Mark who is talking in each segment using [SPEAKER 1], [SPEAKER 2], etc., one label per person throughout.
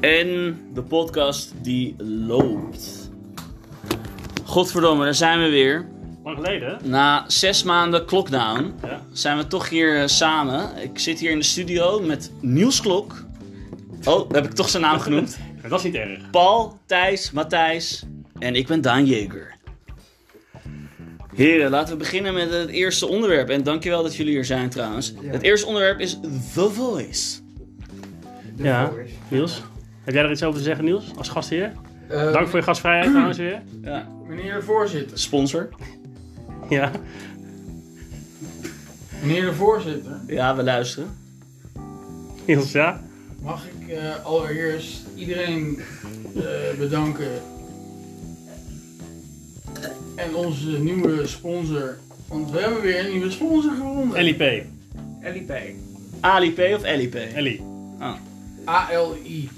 [SPEAKER 1] En de podcast die loopt. Godverdomme, daar zijn we weer.
[SPEAKER 2] Lang geleden, hè?
[SPEAKER 1] Na zes maanden lockdown
[SPEAKER 2] Ja.
[SPEAKER 1] zijn we toch hier eh, samen. Ik zit hier in de studio met Niels Klok. Oh, heb ik toch zijn naam genoemd.
[SPEAKER 2] Maar Dat is niet erg.
[SPEAKER 1] Paul, Thijs, Matthijs en ik ben Daan Jeger. Heren, laten we beginnen met het eerste onderwerp. En dankjewel dat jullie hier zijn trouwens. Het eerste onderwerp is The Voice.
[SPEAKER 2] Ja, Niels. Heb jij er iets over te zeggen, Niels? Als gastheer? Dank voor je gastvrijheid trouwens weer.
[SPEAKER 1] Ja,
[SPEAKER 3] Meneer de voorzitter.
[SPEAKER 1] sponsor.
[SPEAKER 2] Ja.
[SPEAKER 3] Meneer de voorzitter,
[SPEAKER 1] Ja, we luisteren.
[SPEAKER 2] Niels, ja.
[SPEAKER 3] mag ik eh, allereerst iedereen eh, bedanken. En onze nieuwe sponsor. Want we hebben weer een nieuwe sponsor gevonden.
[SPEAKER 2] Ellie P.
[SPEAKER 4] LIP.
[SPEAKER 1] ALIP of LIP?
[SPEAKER 2] Ellie.
[SPEAKER 3] ALI.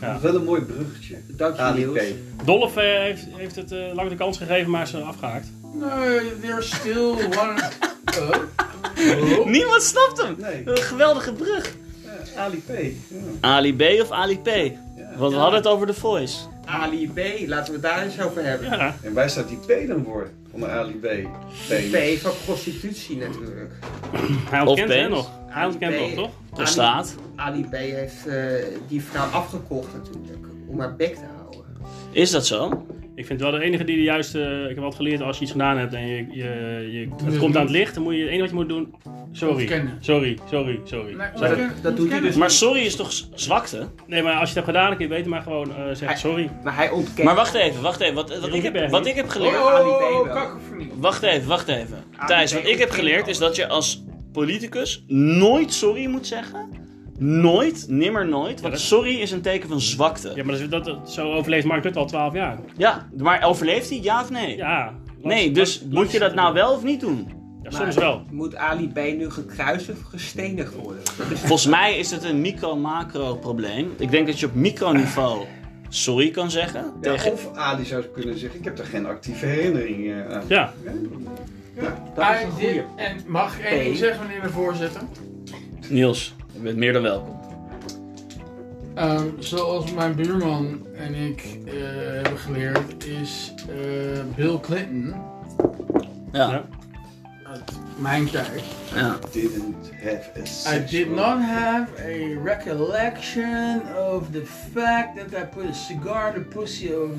[SPEAKER 2] Ja.
[SPEAKER 5] Wel een mooi bruggetje.
[SPEAKER 4] Dank je,
[SPEAKER 5] ADP.
[SPEAKER 4] Niels.
[SPEAKER 2] Dolf eh, heeft, heeft het eh, lang de kans gegeven, maar is eh, afgehaakt.
[SPEAKER 3] Nee, there's still one. Oh.
[SPEAKER 1] Niemand snapt hem!
[SPEAKER 5] Nee.
[SPEAKER 1] Wat Een geweldige brug.
[SPEAKER 5] Ja, ADP. Ja.
[SPEAKER 1] ALIB of ALIP? Want we hadden het over The Voice.
[SPEAKER 4] LIP, laten we het daar eens over hebben.
[SPEAKER 2] Ja.
[SPEAKER 5] En waar staat die P dan voor? Onder ADP. P.
[SPEAKER 4] P van prostitutie natuurlijk.
[SPEAKER 2] Hij ontkent
[SPEAKER 1] Of
[SPEAKER 2] hè
[SPEAKER 1] P.
[SPEAKER 2] nog. Hij ontkent nog,
[SPEAKER 4] P.
[SPEAKER 2] toch?
[SPEAKER 1] Er staat.
[SPEAKER 4] Ali B heeft eh, die vrouw afgekocht natuurlijk, om haar bek te houden.
[SPEAKER 1] Is dat zo?
[SPEAKER 2] Ik vind wel de enige die de juiste... eh, ik heb altijd geleerd, als je iets gedaan hebt en je, je, je, het
[SPEAKER 3] het
[SPEAKER 2] komt aan het
[SPEAKER 3] niet.
[SPEAKER 2] licht, dan moet je het enige wat je moet doen... Sorry,
[SPEAKER 3] Ontkennen.
[SPEAKER 2] sorry, sorry, sorry.
[SPEAKER 3] Nee,
[SPEAKER 2] Zeg het-
[SPEAKER 3] ontken-
[SPEAKER 4] dat doet hij dus
[SPEAKER 3] ontkennen.
[SPEAKER 1] Maar sorry is toch z- zwakte?
[SPEAKER 2] nee, maar als je het hebt gedaan, dan kun je het beter maar gewoon eh zeggen
[SPEAKER 4] Hij-
[SPEAKER 2] sorry.
[SPEAKER 4] Maar hij ontkent.
[SPEAKER 1] Maar wacht even, wacht even. Wat, wat, ik, heb, wat ik heb
[SPEAKER 3] Oh,
[SPEAKER 1] geleerd...
[SPEAKER 3] oh,
[SPEAKER 4] Ali B
[SPEAKER 3] oh, oh,
[SPEAKER 4] wel.
[SPEAKER 3] kakofonie.
[SPEAKER 1] Wacht even, wacht even. Thijs, wat ik heb geleerd is dat je als politicus nooit sorry moet zeggen. Nooit, nimmer nooit. Want sorry is een teken van
[SPEAKER 2] Ja,
[SPEAKER 1] zwakte.
[SPEAKER 2] maar dat, is- dat, dat- zo overleeft Mark Rutte al 12 jaar.
[SPEAKER 1] Ja, maar overleeft hij? Ja of nee?
[SPEAKER 2] Ja.
[SPEAKER 1] Nee, dus moet je dat nou wel of niet doen?
[SPEAKER 2] Ja,
[SPEAKER 4] Maar
[SPEAKER 2] soms wel.
[SPEAKER 4] Moet Ali B nu gekruisigd of gestenigd worden? Dat is
[SPEAKER 1] Volgens mij is het een micro-macro probleem. Ik denk dat je op microniveau sorry kan zeggen.
[SPEAKER 5] Ja,
[SPEAKER 1] Tegen...
[SPEAKER 5] of Ali zou kunnen zeggen, ik heb daar geen actieve herinnering eh, aan.
[SPEAKER 2] Ja.
[SPEAKER 4] dat is een
[SPEAKER 3] Hij dit-
[SPEAKER 4] goede.
[SPEAKER 3] En mag ik één ding zeggen, meneer de voorzitter?
[SPEAKER 1] Niels, je bent meer dan welkom.
[SPEAKER 3] Ehm, zoals mijn buurman en ik eh, hebben geleerd, is eh, Bill Clinton
[SPEAKER 1] Ja.
[SPEAKER 2] Ja.
[SPEAKER 3] uit mijn tijd.
[SPEAKER 1] ja.
[SPEAKER 5] Didn't have a
[SPEAKER 3] I
[SPEAKER 5] sexual-
[SPEAKER 3] did not have a recollection of the fact that I put a cigar in the pussy of.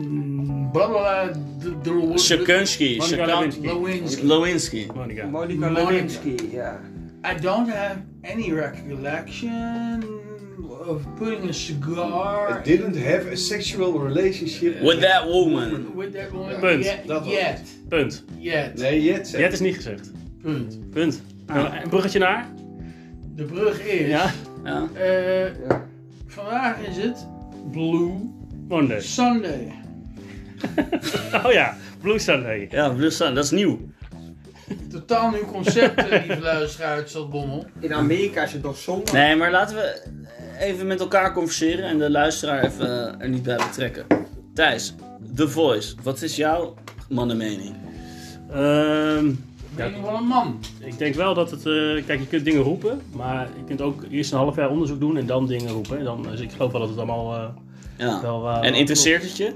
[SPEAKER 3] mm, Barbara D- D-
[SPEAKER 1] Shukunsky,
[SPEAKER 2] Monica
[SPEAKER 1] Shukun-
[SPEAKER 3] Lewinsky.
[SPEAKER 1] Lewinsky.
[SPEAKER 2] Monica.
[SPEAKER 4] Monica
[SPEAKER 3] Monica.
[SPEAKER 4] Lewinsky, ja.
[SPEAKER 3] I don't have any recollection of putting a cigar
[SPEAKER 5] I didn't have a sexual relationship.
[SPEAKER 1] With that woman.
[SPEAKER 3] with that woman
[SPEAKER 2] Punt.
[SPEAKER 3] yet.
[SPEAKER 5] Dat was
[SPEAKER 3] Yet.
[SPEAKER 2] Punt.
[SPEAKER 3] Yet.
[SPEAKER 5] Nee, Jet.
[SPEAKER 2] Jet is niet gezegd.
[SPEAKER 3] Punt.
[SPEAKER 2] Punt. Nou, Een bruggetje naar?
[SPEAKER 3] De brug is.
[SPEAKER 2] Ja.
[SPEAKER 1] Ja.
[SPEAKER 3] Eh,
[SPEAKER 4] Ja.
[SPEAKER 3] vandaag is het Blue
[SPEAKER 2] Monday.
[SPEAKER 3] Sunday.
[SPEAKER 2] Oh ja. E. Blue Sunday.
[SPEAKER 1] Ja, dus dan, dat is nieuw.
[SPEAKER 3] Totaal nieuw concept, eh, lieve luisteraar uit Stadbommel.
[SPEAKER 4] In Amerika is het nog zondag.
[SPEAKER 1] Nee, maar laten we even met elkaar converseren en de luisteraar even eh, er niet bij betrekken. Thijs, The Voice, wat is jouw mannenmening?
[SPEAKER 2] Ehm,
[SPEAKER 3] Ben je wel een man?
[SPEAKER 2] ik denk wel dat het... eh, kijk, je kunt dingen roepen. Maar je kunt ook eerst een half jaar onderzoek doen en dan dingen roepen. En dan, dus ik geloof wel dat het allemaal eh,
[SPEAKER 1] Ja.
[SPEAKER 2] wel... eh,
[SPEAKER 1] En interesseert het je?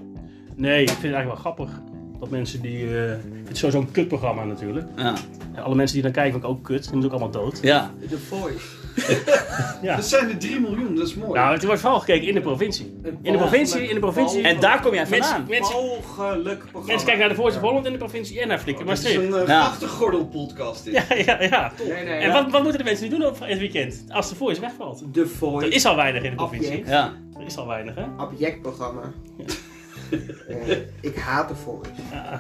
[SPEAKER 2] Nee, ik vind het eigenlijk wel grappig. Dat mensen die... eh, het is sowieso een kutprogramma natuurlijk.
[SPEAKER 1] Ja.
[SPEAKER 2] En alle mensen die dan kijken, vind ik ook kut. Die zijn natuurlijk allemaal dood.
[SPEAKER 1] ja.
[SPEAKER 4] The Voice.
[SPEAKER 5] Dat zijn er 3 miljoen, dat is mooi.
[SPEAKER 2] Nou, het wordt vooral gekeken in de provincie. In de provincie, in de provincie.
[SPEAKER 1] En daar kom jij
[SPEAKER 2] mensen,
[SPEAKER 1] vandaan.
[SPEAKER 2] mensen,
[SPEAKER 5] Oh.
[SPEAKER 4] Mogelijk programma.
[SPEAKER 2] mensen kijken naar de Voice of Holland in de provincie en naar Flikker
[SPEAKER 5] dat is
[SPEAKER 2] Maastricht.
[SPEAKER 5] een uh,
[SPEAKER 1] Ja.
[SPEAKER 5] grachtengordel-podcast dit.
[SPEAKER 2] Ja, ja, ja.
[SPEAKER 4] Nee, nee,
[SPEAKER 2] En
[SPEAKER 4] ja.
[SPEAKER 2] wat, wat moeten de mensen nu doen op het weekend? Als de Voice wegvalt.
[SPEAKER 4] The
[SPEAKER 2] Er
[SPEAKER 4] Voice.
[SPEAKER 2] is al weinig in de provincie.
[SPEAKER 4] Object.
[SPEAKER 1] Ja.
[SPEAKER 2] Er is al weinig, hè?
[SPEAKER 4] Objectprogramma. Eh, ik haat The Voice.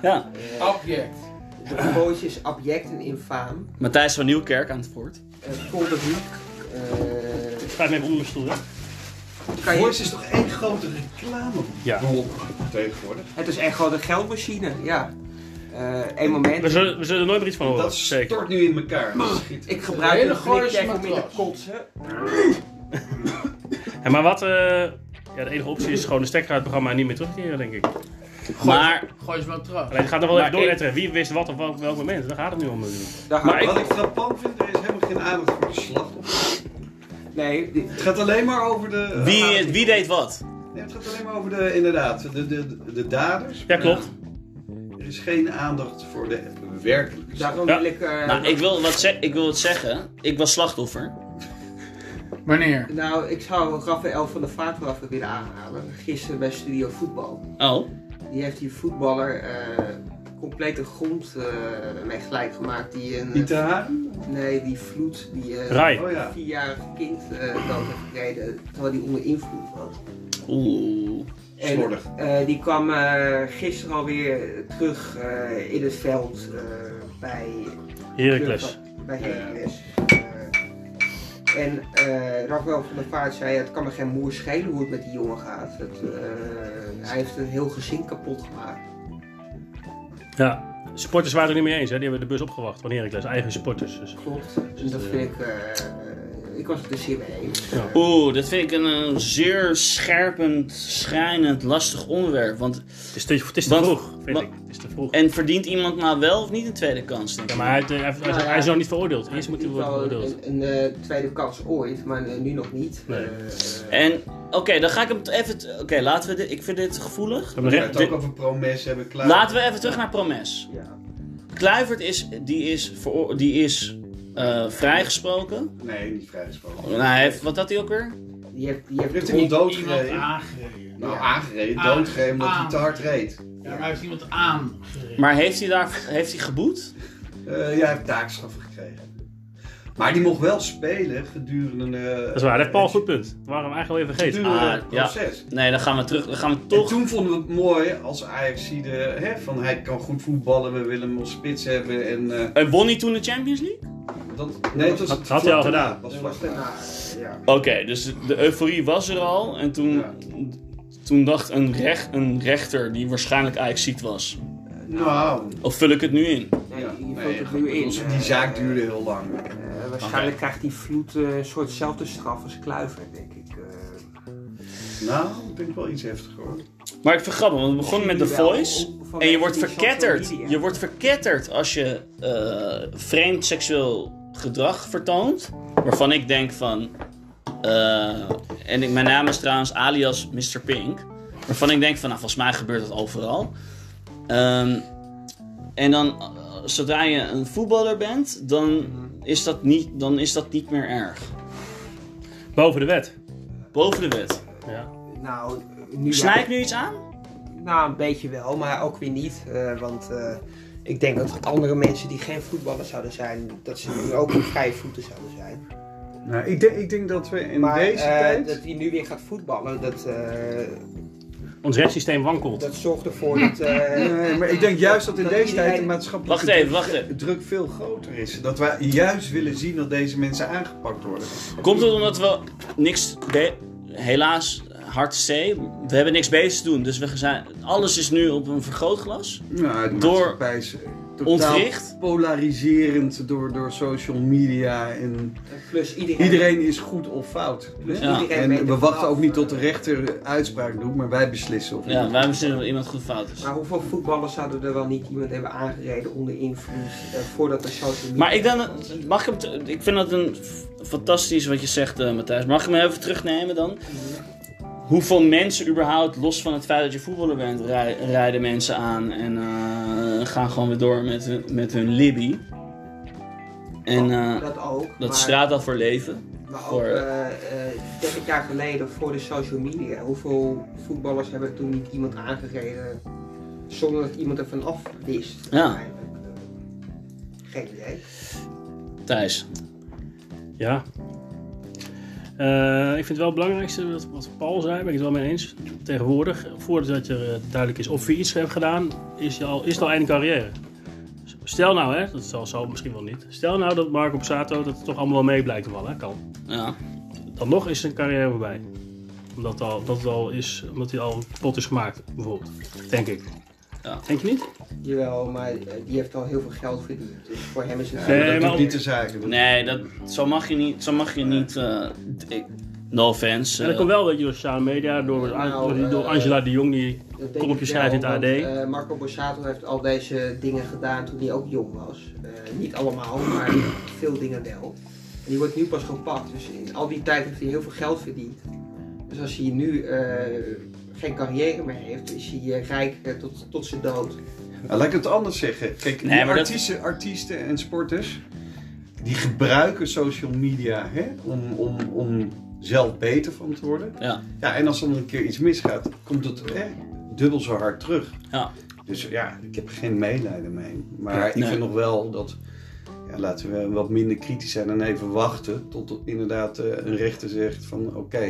[SPEAKER 1] ja.
[SPEAKER 3] Object.
[SPEAKER 4] The Voice is abject en infaam.
[SPEAKER 1] Matthijs van Nieuwkerk aan het woord.
[SPEAKER 4] Eh, Polderhoek. eh,
[SPEAKER 2] Schrijf me even onder mijn stoel, hè?
[SPEAKER 4] kan je,
[SPEAKER 5] Voice is toch één grote reclame
[SPEAKER 2] Ja.
[SPEAKER 5] tegenwoordig?
[SPEAKER 4] het is echt gewoon een geldmachine, ja. Eh Eén moment.
[SPEAKER 2] We zullen, we zullen er nooit meer iets van horen.
[SPEAKER 5] Dat stort nu in elkaar. Dat schiet.
[SPEAKER 4] Ik
[SPEAKER 3] Een
[SPEAKER 4] gebruik
[SPEAKER 3] hele
[SPEAKER 4] een
[SPEAKER 3] gooise
[SPEAKER 4] flikjack om in te
[SPEAKER 3] matras.
[SPEAKER 4] kotsen.
[SPEAKER 2] Ja, maar wat... eh, ja, de enige optie is gewoon de stekker uit het programma en niet meer terugkeren, denk ik.
[SPEAKER 1] Maar,
[SPEAKER 3] Gooi Eh, eens maar terug.
[SPEAKER 2] Alleen, het gaat nog wel
[SPEAKER 1] Maar
[SPEAKER 2] even doorletteren. Wie wist wat op welk, welk moment? Daar gaat het nu om natuurlijk.
[SPEAKER 4] Daar
[SPEAKER 1] Maar
[SPEAKER 4] maar
[SPEAKER 1] ik-
[SPEAKER 4] ik...
[SPEAKER 5] Wat ik frappant vind, er is helemaal geen aandacht voor de slachtoffers.
[SPEAKER 4] Nee, die-
[SPEAKER 5] Het gaat alleen maar over de... eh,
[SPEAKER 1] Wie, wie deed wat?
[SPEAKER 5] Nee, het gaat alleen maar over de, inderdaad, de, de, de daders.
[SPEAKER 2] Ja, klopt.
[SPEAKER 5] Er is geen aandacht voor de werkelijke zaak.
[SPEAKER 4] daarom
[SPEAKER 2] Ja.
[SPEAKER 4] wil ik... eh,
[SPEAKER 1] Nou, ik wil, wat ze- ik wil het zeggen. Ik was slachtoffer.
[SPEAKER 6] Wanneer?
[SPEAKER 4] Nou, ik zou Rafael van der Vaart wel even willen aanhalen. Gisteren bij Studio Voetbal.
[SPEAKER 1] Oh,
[SPEAKER 4] Die heeft die voetballer eh, compleet de grond eh, mee gelijk gemaakt. Die een,
[SPEAKER 5] Niet te haren?
[SPEAKER 4] nee, die vloed die eh,
[SPEAKER 2] Rai.
[SPEAKER 5] Oh ja.
[SPEAKER 4] een vierjarig kind eh dood heeft gereden. Terwijl die onder invloed was.
[SPEAKER 1] oeh.
[SPEAKER 4] En
[SPEAKER 5] Slordig.
[SPEAKER 4] eh, die kwam eh, gisteren alweer terug eh, in het veld eh, bij
[SPEAKER 2] Heracles.
[SPEAKER 4] Bij
[SPEAKER 5] Ja.
[SPEAKER 4] Heracles. Eh, en eh Rafael van der Vaart zei, het kan me geen moer schelen hoe het met die jongen gaat. Het, eh, hij heeft een heel gezin kapot gemaakt.
[SPEAKER 2] Ja. Supporters waren het er niet mee eens, hè? Die hebben de bus opgewacht van Heracles. Eigen supporters. Dus.
[SPEAKER 4] Klopt. En dat vind ik... eh, eh, ik was het er zeer mee eens.
[SPEAKER 2] Ja.
[SPEAKER 1] Oeh, dat vind ik een, eh, zeer scherpend, schrijnend, lastig onderwerp. Want,
[SPEAKER 2] Het is te, het is te
[SPEAKER 1] Want-
[SPEAKER 2] vroeg, vind
[SPEAKER 1] want-
[SPEAKER 2] ik. Het is te vroeg.
[SPEAKER 1] en verdient iemand nou wel of niet een tweede kans? Denk
[SPEAKER 2] Ja,
[SPEAKER 1] ik?
[SPEAKER 2] maar hij, heeft, eh, hij, heeft- hij is-
[SPEAKER 4] Nou ja.
[SPEAKER 2] hij is nog niet veroordeeld. Eerst moet
[SPEAKER 4] moet
[SPEAKER 2] hij worden
[SPEAKER 4] wel een,
[SPEAKER 2] veroordeeld.
[SPEAKER 4] een, eh, tweede kans ooit, maar eh, nu nog niet.
[SPEAKER 2] Nee.
[SPEAKER 4] Eh,
[SPEAKER 1] En, oké, dan ga ik hem t- even... t- Oké, laten we dit... Ik vind dit gevoelig.
[SPEAKER 2] Gaan
[SPEAKER 5] We
[SPEAKER 2] we
[SPEAKER 5] hebben
[SPEAKER 2] recht-
[SPEAKER 5] het ook over promes hebben klaar.
[SPEAKER 1] Laten we even terug naar Promes.
[SPEAKER 4] ja.
[SPEAKER 1] Kluivert is, die is, veroor- die is eh, vrijgesproken.
[SPEAKER 5] Nee, niet vrijgesproken.
[SPEAKER 1] Nou, hij heeft, wat had hij ook weer?
[SPEAKER 4] Die heeft, die
[SPEAKER 5] Heeft
[SPEAKER 4] heeft
[SPEAKER 5] iemand
[SPEAKER 3] Iemand
[SPEAKER 5] doodgereden?
[SPEAKER 3] aangereden.
[SPEAKER 5] Nou,
[SPEAKER 4] Ja.
[SPEAKER 5] aangereden,
[SPEAKER 3] Aan-
[SPEAKER 5] doodgereden omdat hij
[SPEAKER 3] aan-
[SPEAKER 5] te hard reed.
[SPEAKER 3] Ja, maar hij heeft iemand aangereden.
[SPEAKER 1] Maar heeft hij daar heeft hij geboet?
[SPEAKER 5] Eh, ja, hij heeft taakstraffen gekregen. Maar die mocht wel spelen gedurende... eh,
[SPEAKER 2] Dat is waar, dat heeft Paul een goed punt. Dat waren we eigenlijk al even vergeten.
[SPEAKER 5] Gedurende
[SPEAKER 1] Ah,
[SPEAKER 5] het
[SPEAKER 1] ja.
[SPEAKER 5] proces.
[SPEAKER 1] Nee, dan gaan we terug. Dan gaan we
[SPEAKER 5] En
[SPEAKER 1] toch.
[SPEAKER 5] toen vonden we het mooi als Ajax de, hè, van hij kan goed voetballen, we willen hem als spits hebben en eh,
[SPEAKER 1] En won hij toen de Champions League?
[SPEAKER 5] dat, nee, het was
[SPEAKER 2] Had-
[SPEAKER 5] het
[SPEAKER 2] had
[SPEAKER 5] vlak
[SPEAKER 2] hij al
[SPEAKER 5] daarna.
[SPEAKER 2] gedaan.
[SPEAKER 5] Het was
[SPEAKER 4] Dat
[SPEAKER 5] vlak
[SPEAKER 4] was daarna.
[SPEAKER 5] daarna.
[SPEAKER 4] Ja.
[SPEAKER 1] Oké, dus de euforie was er al. En toen,
[SPEAKER 5] Ja.
[SPEAKER 1] toen dacht een, rech- een rechter die waarschijnlijk Ajax ziek was.
[SPEAKER 5] Nou,
[SPEAKER 1] Of vul ik het nu in?
[SPEAKER 4] Nee,
[SPEAKER 5] ja,
[SPEAKER 4] die
[SPEAKER 5] nee,
[SPEAKER 4] vult het nu in.
[SPEAKER 5] ons- die zaak duurde heel lang.
[SPEAKER 4] Eh, waarschijnlijk krijgt die vloed eh, een soortzelfde straf als Kluivert, denk ik. eh.
[SPEAKER 5] Nou, ik denk wel iets heftiger hoor.
[SPEAKER 1] Maar ik vergrap me, want we begonnen met The
[SPEAKER 4] Jullie wel,
[SPEAKER 1] Voice.
[SPEAKER 4] op-
[SPEAKER 1] En
[SPEAKER 4] vanwege
[SPEAKER 1] je wordt
[SPEAKER 4] die
[SPEAKER 1] verketterd.
[SPEAKER 4] social media.
[SPEAKER 1] Je wordt verketterd als je eh, vreemd seksueel gedrag vertoont. Waarvan ik denk van. eh, en ik, mijn naam is trouwens alias Mr. Pink. Waarvan ik denk van, nou, volgens mij gebeurt dat overal. Ehm, en dan, eh, zodra je een voetballer bent, dan
[SPEAKER 4] Mhm.
[SPEAKER 1] is, dat niet, dan is dat niet meer erg.
[SPEAKER 2] Ah, Boven de wet.
[SPEAKER 1] Boven de wet.
[SPEAKER 2] Ja.
[SPEAKER 4] Nou, nu
[SPEAKER 1] Snij ik nu iets aan?
[SPEAKER 4] Nou, een beetje wel, maar ook weer niet. eh, want eh, ik denk dat andere mensen die geen voetballer zouden zijn, dat ze nu ook op vrije voeten zouden zijn.
[SPEAKER 5] Nou, ik, denk, ik denk dat we in
[SPEAKER 4] maar
[SPEAKER 5] deze
[SPEAKER 4] eh,
[SPEAKER 5] tijd...
[SPEAKER 4] dat hij nu weer gaat voetballen, dat, eh,
[SPEAKER 2] Ons rechtssysteem wankelt.
[SPEAKER 4] dat zorgt ervoor dat... eh,
[SPEAKER 5] Nee, maar ik denk juist dat in
[SPEAKER 4] Dat
[SPEAKER 5] deze
[SPEAKER 4] iedereen-
[SPEAKER 5] tijd de maatschappelijke
[SPEAKER 1] Wacht even,
[SPEAKER 5] druk-
[SPEAKER 1] wacht even.
[SPEAKER 5] druk veel groter is. Dat wij juist willen zien dat deze mensen aangepakt worden.
[SPEAKER 1] Komt het omdat we niks. be- helaas, hard C. We hebben niks beters te doen. Dus we zijn, alles is nu op een vergrootglas.
[SPEAKER 5] Nou, de
[SPEAKER 1] Door-
[SPEAKER 5] maatschappij is eh, totaal
[SPEAKER 1] Ontwricht?
[SPEAKER 5] polariserend door, door social media. En
[SPEAKER 4] plus iedereen...
[SPEAKER 5] iedereen is goed of fout. hè?
[SPEAKER 1] Ja.
[SPEAKER 4] iedereen weet
[SPEAKER 5] En we
[SPEAKER 4] het
[SPEAKER 5] wachten
[SPEAKER 4] vanaf.
[SPEAKER 5] ook niet tot de rechter uitspraak doet, maar wij beslissen of
[SPEAKER 1] Ja, wij bezinnen dat iemand goed fout is.
[SPEAKER 4] Maar hoeveel voetballers zouden er wel niet iemand hebben aangereden onder invloed eh, voordat er social media...
[SPEAKER 1] Maar ik dan. Mag ik hem. te- Ik vind dat een. f- Fantastisch wat je zegt, eh, Matthijs. Mag ik hem even terugnemen dan? Hoeveel mensen überhaupt, los van het feit dat je voetballer bent, rij- rijden mensen aan en eh, gaan gewoon weer door met, hun- met hun libby. En eh,
[SPEAKER 4] Dat ook.
[SPEAKER 1] dat
[SPEAKER 4] maar-
[SPEAKER 1] straat al voor leven.
[SPEAKER 4] Maar
[SPEAKER 1] Voor-
[SPEAKER 4] ook eh, eh, 30 jaar geleden voor de social media. Hoeveel voetballers hebben toen niet iemand aangereden zonder dat iemand er vanaf wist?
[SPEAKER 1] Ja.
[SPEAKER 4] uiteindelijk? Geen idee.
[SPEAKER 1] Thijs.
[SPEAKER 2] Ja. Eh, ik vind het wel het belangrijkste wat, wat Paul zei, ben ik het wel mee eens. Tegenwoordig, voordat je eh, duidelijk is of je iets hebt gedaan, is, je al, is het al einde carrière. Stel nou, hè, dat zal, zal misschien wel niet. Stel nou dat Marco Passato dat het toch allemaal wel mee blijkt te vallen, hè, kan.
[SPEAKER 1] Ja.
[SPEAKER 2] dan nog is zijn carrière voorbij. Omdat, al, dat het al is, omdat hij al kapot is gemaakt, bijvoorbeeld. Denk ik.
[SPEAKER 1] Ja.
[SPEAKER 2] Denk je niet?
[SPEAKER 4] Jawel, maar eh, die heeft al heel veel geld verdiend. Dus voor hem is het...
[SPEAKER 2] Nee,
[SPEAKER 5] dat
[SPEAKER 2] maar-
[SPEAKER 5] doet niet de zaken.
[SPEAKER 1] Nee, dat, zo mag je niet. Zo mag je niet eh, ik- no offense.
[SPEAKER 2] en dat
[SPEAKER 1] eh,
[SPEAKER 2] komt wel weet je, door sociale media, door,
[SPEAKER 4] Nou,
[SPEAKER 2] door die- door
[SPEAKER 4] eh,
[SPEAKER 2] Angela de Jong. Die,
[SPEAKER 4] Dat denk ik
[SPEAKER 2] Kolompje
[SPEAKER 4] wel,
[SPEAKER 2] schrijft in het
[SPEAKER 4] want,
[SPEAKER 2] AD.
[SPEAKER 4] eh, Marco Borsato heeft al deze dingen gedaan toen hij ook jong was. Eh, niet allemaal, maar veel dingen wel. Die wordt nu pas gepakt. Dus in al die tijd heeft hij heel veel geld verdiend. Dus als hij nu eh, geen carrière meer heeft, is hij eh, rijk eh, tot, tot zijn dood.
[SPEAKER 5] Nou, laat ik het anders zeggen. Kijk,
[SPEAKER 1] Nee,
[SPEAKER 5] die
[SPEAKER 1] maar dat-
[SPEAKER 5] artiesten, artiesten en sporters, die gebruiken social media hè, om, om, om zelf beter van te worden.
[SPEAKER 1] Ja.
[SPEAKER 5] Ja, en als dan een keer iets misgaat, komt het hè, dubbel zo hard terug.
[SPEAKER 1] Ja.
[SPEAKER 5] Dus ja, ik heb geen medelijden mee. Maar ik
[SPEAKER 1] Nee.
[SPEAKER 5] vind nog wel dat, ja, laten we wat minder kritisch zijn en even wachten tot er inderdaad eh, een rechter zegt van oké.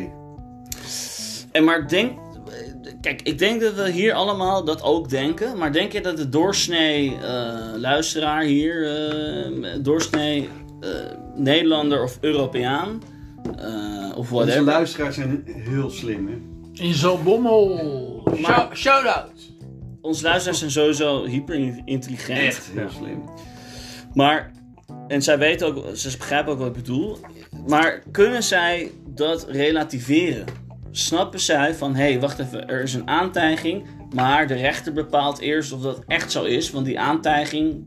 [SPEAKER 1] En maar denk. Kijk, ik denk dat we hier allemaal dat ook denken. Maar denk je dat de doorsnee eh, luisteraar hier, eh, doorsnee eh, Nederlander of Europeaan eh, of
[SPEAKER 5] Onze
[SPEAKER 1] whatever.
[SPEAKER 5] luisteraars zijn heel slim hè.
[SPEAKER 3] In zo'n bommel.
[SPEAKER 1] Maar-
[SPEAKER 3] Shout-out.
[SPEAKER 1] Onze luisteraars zijn sowieso hyper intelligent.
[SPEAKER 3] Echt.
[SPEAKER 5] Heel slim.
[SPEAKER 1] Maar, en zij weten ook, ze begrijpen ook wat ik bedoel. Maar kunnen zij dat relativeren? Snappen zij van, hé, hey, wacht even, er is een aantijging, maar de rechter bepaalt eerst of dat echt zo is, want die aantijging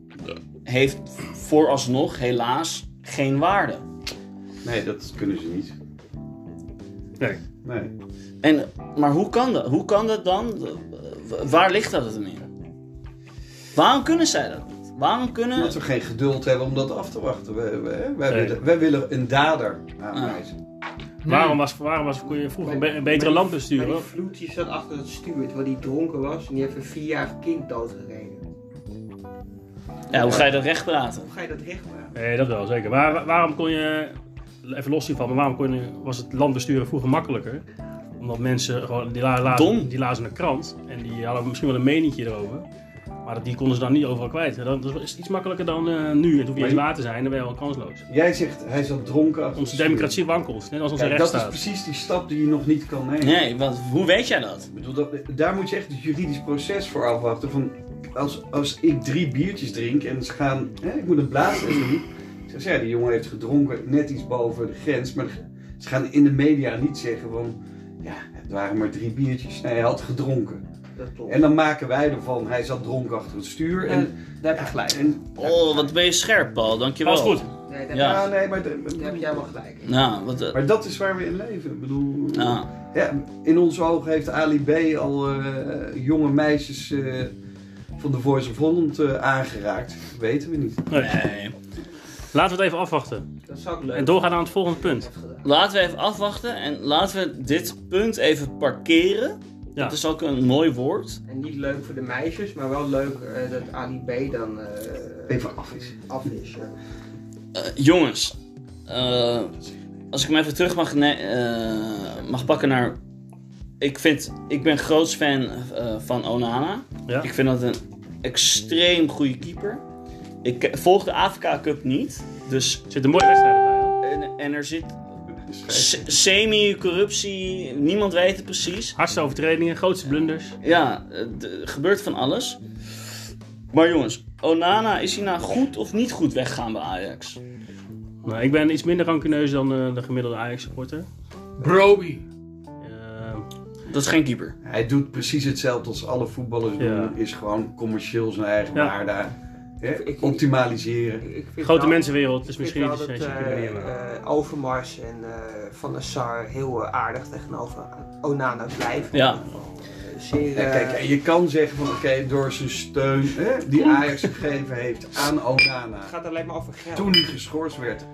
[SPEAKER 1] heeft vooralsnog helaas geen waarde.
[SPEAKER 5] Nee, dat kunnen ze niet.
[SPEAKER 2] Nee.
[SPEAKER 5] Nee.
[SPEAKER 1] En, maar hoe kan dat? Hoe kan dat dan? W- Waar ligt dat het meer? Waarom kunnen zij dat niet? Waarom kunnen...
[SPEAKER 5] Omdat we geen geduld hebben om dat af te wachten. Wij, wij, wij,
[SPEAKER 2] Nee.
[SPEAKER 5] willen, wij willen een dader aanwijzen.
[SPEAKER 2] Waarom, was, waarom was, kon je vroeger een, be- een betere land
[SPEAKER 4] Maar
[SPEAKER 2] besturen?
[SPEAKER 4] die vloed die zat achter het stuur, terwijl die dronken was en die heeft een vierjarig kind doodgereden.
[SPEAKER 1] Ja, hoe ga je dat recht praten?
[SPEAKER 4] Hoe ga je dat recht maken?
[SPEAKER 2] Nee, dat wel, zeker. Maar wa- waarom kon je, even los hiervan, maar waarom kon je, was het land besturen vroeger makkelijker? Omdat mensen gewoon, die, la, lazen-
[SPEAKER 1] Dom.
[SPEAKER 2] die lazen een krant en die hadden misschien wel een meningje erover. Maar die konden ze dan niet overal kwijt. Dat is- is iets makkelijker dan eh, nu. Het hoeft niet eens laat te zijn, dan ben je wel kansloos.
[SPEAKER 5] Jij zegt, hij zat dronken. achter
[SPEAKER 2] Onze
[SPEAKER 5] het stuur.
[SPEAKER 2] democratie wankelt, net als onze
[SPEAKER 5] Kijk, dat is
[SPEAKER 2] rechtsstaat.
[SPEAKER 5] precies die stap die je nog niet kan nemen.
[SPEAKER 1] Nee, want hoe weet jij dat?
[SPEAKER 5] Ik bedoel, dat, daar moet je echt het juridisch proces voor afwachten. Van, als, als ik drie biertjes drink en ze gaan... Hè, ik moet een blaastest doen. Ik zeg, ja, die jongen heeft gedronken net iets boven de grens. Maar ze gaan in de media niet zeggen van... Ja, het waren maar drie biertjes. Nee, hij had gedronken.
[SPEAKER 4] Dat klopt.
[SPEAKER 5] En dan maken wij ervan, hij zat dronken achter het stuur. En,
[SPEAKER 4] En, Eh, daar heb je gelijk.
[SPEAKER 5] en-
[SPEAKER 1] Oh, wat ben je scherp, Paul. Dankjewel.
[SPEAKER 2] Alles goed.
[SPEAKER 4] Nee, daar,
[SPEAKER 1] Ja.
[SPEAKER 5] Ah, nee, maar, de-
[SPEAKER 4] daar heb jij wel gelijk. in.
[SPEAKER 1] Nou, wat... eh,
[SPEAKER 5] maar dat is waar we in leven. Ik bedoel,
[SPEAKER 1] nou,
[SPEAKER 5] ja, in onze ogen heeft Ali B. al eh, jonge meisjes eh, van de Voice of Holland eh, aangeraakt. Weten we niet.
[SPEAKER 1] nee.
[SPEAKER 2] Laten we het even afwachten.
[SPEAKER 4] Dat zou ik leuk
[SPEAKER 2] En doorgaan aan het volgende punt.
[SPEAKER 4] hebben gedaan.
[SPEAKER 1] Laten we even afwachten en laten we dit punt even parkeren.
[SPEAKER 2] Ja.
[SPEAKER 1] Dat is ook een mooi woord.
[SPEAKER 4] En niet leuk voor de meisjes, maar wel leuk eh, dat Ali B dan eh,
[SPEAKER 5] Even af is.
[SPEAKER 4] af is. ja.
[SPEAKER 1] Eh, jongens, eh, als ik hem even terug mag, ne- eh, mag pakken naar... Ik, vind, ik ben groot fan eh, van Onana.
[SPEAKER 2] Ja.
[SPEAKER 1] Ik vind dat een extreem goede keeper. Ik eh, volg de AFK Cup niet. Dus,
[SPEAKER 2] Er zit een mooie wedstrijd bij. hoor.
[SPEAKER 1] en, en er zit se- semi-corruptie. Niemand weet het precies.
[SPEAKER 2] Hardste overtredingen, grootste blunders.
[SPEAKER 1] Ja, eh, d- er gebeurt van alles. Maar jongens, Onana, is hij nou goed of niet goed weggegaan bij Ajax?
[SPEAKER 2] Nou, ik ben iets minder rancuneus dan eh, de gemiddelde Ajax-supporter.
[SPEAKER 3] Broby.
[SPEAKER 2] Eh,
[SPEAKER 1] Dat is geen keeper.
[SPEAKER 5] Hij doet precies hetzelfde als alle voetballers doen.
[SPEAKER 2] Ja.
[SPEAKER 5] Is gewoon commercieel zijn eigen
[SPEAKER 2] Ja.
[SPEAKER 5] waarde hè,
[SPEAKER 4] Ik- ik-
[SPEAKER 5] optimaliseren.
[SPEAKER 4] Ik- ik vind
[SPEAKER 2] grote
[SPEAKER 4] wel-
[SPEAKER 2] mensenwereld is
[SPEAKER 4] Ik vind
[SPEAKER 2] misschien
[SPEAKER 4] wel
[SPEAKER 2] iets
[SPEAKER 4] dat
[SPEAKER 2] iets-
[SPEAKER 4] eh, eh, Overmars en eh, Van der Sar heel eh, aardig tegenover Onana blijven.
[SPEAKER 1] Ja.
[SPEAKER 4] Eh, Zeer,
[SPEAKER 5] Ja,
[SPEAKER 4] eh,
[SPEAKER 5] kijk, je kan zeggen van oké, door zijn steun hè, die Ajax gegeven heeft aan Onana.
[SPEAKER 4] het gaat alleen maar over geld.
[SPEAKER 5] Toen hij geschorst werd,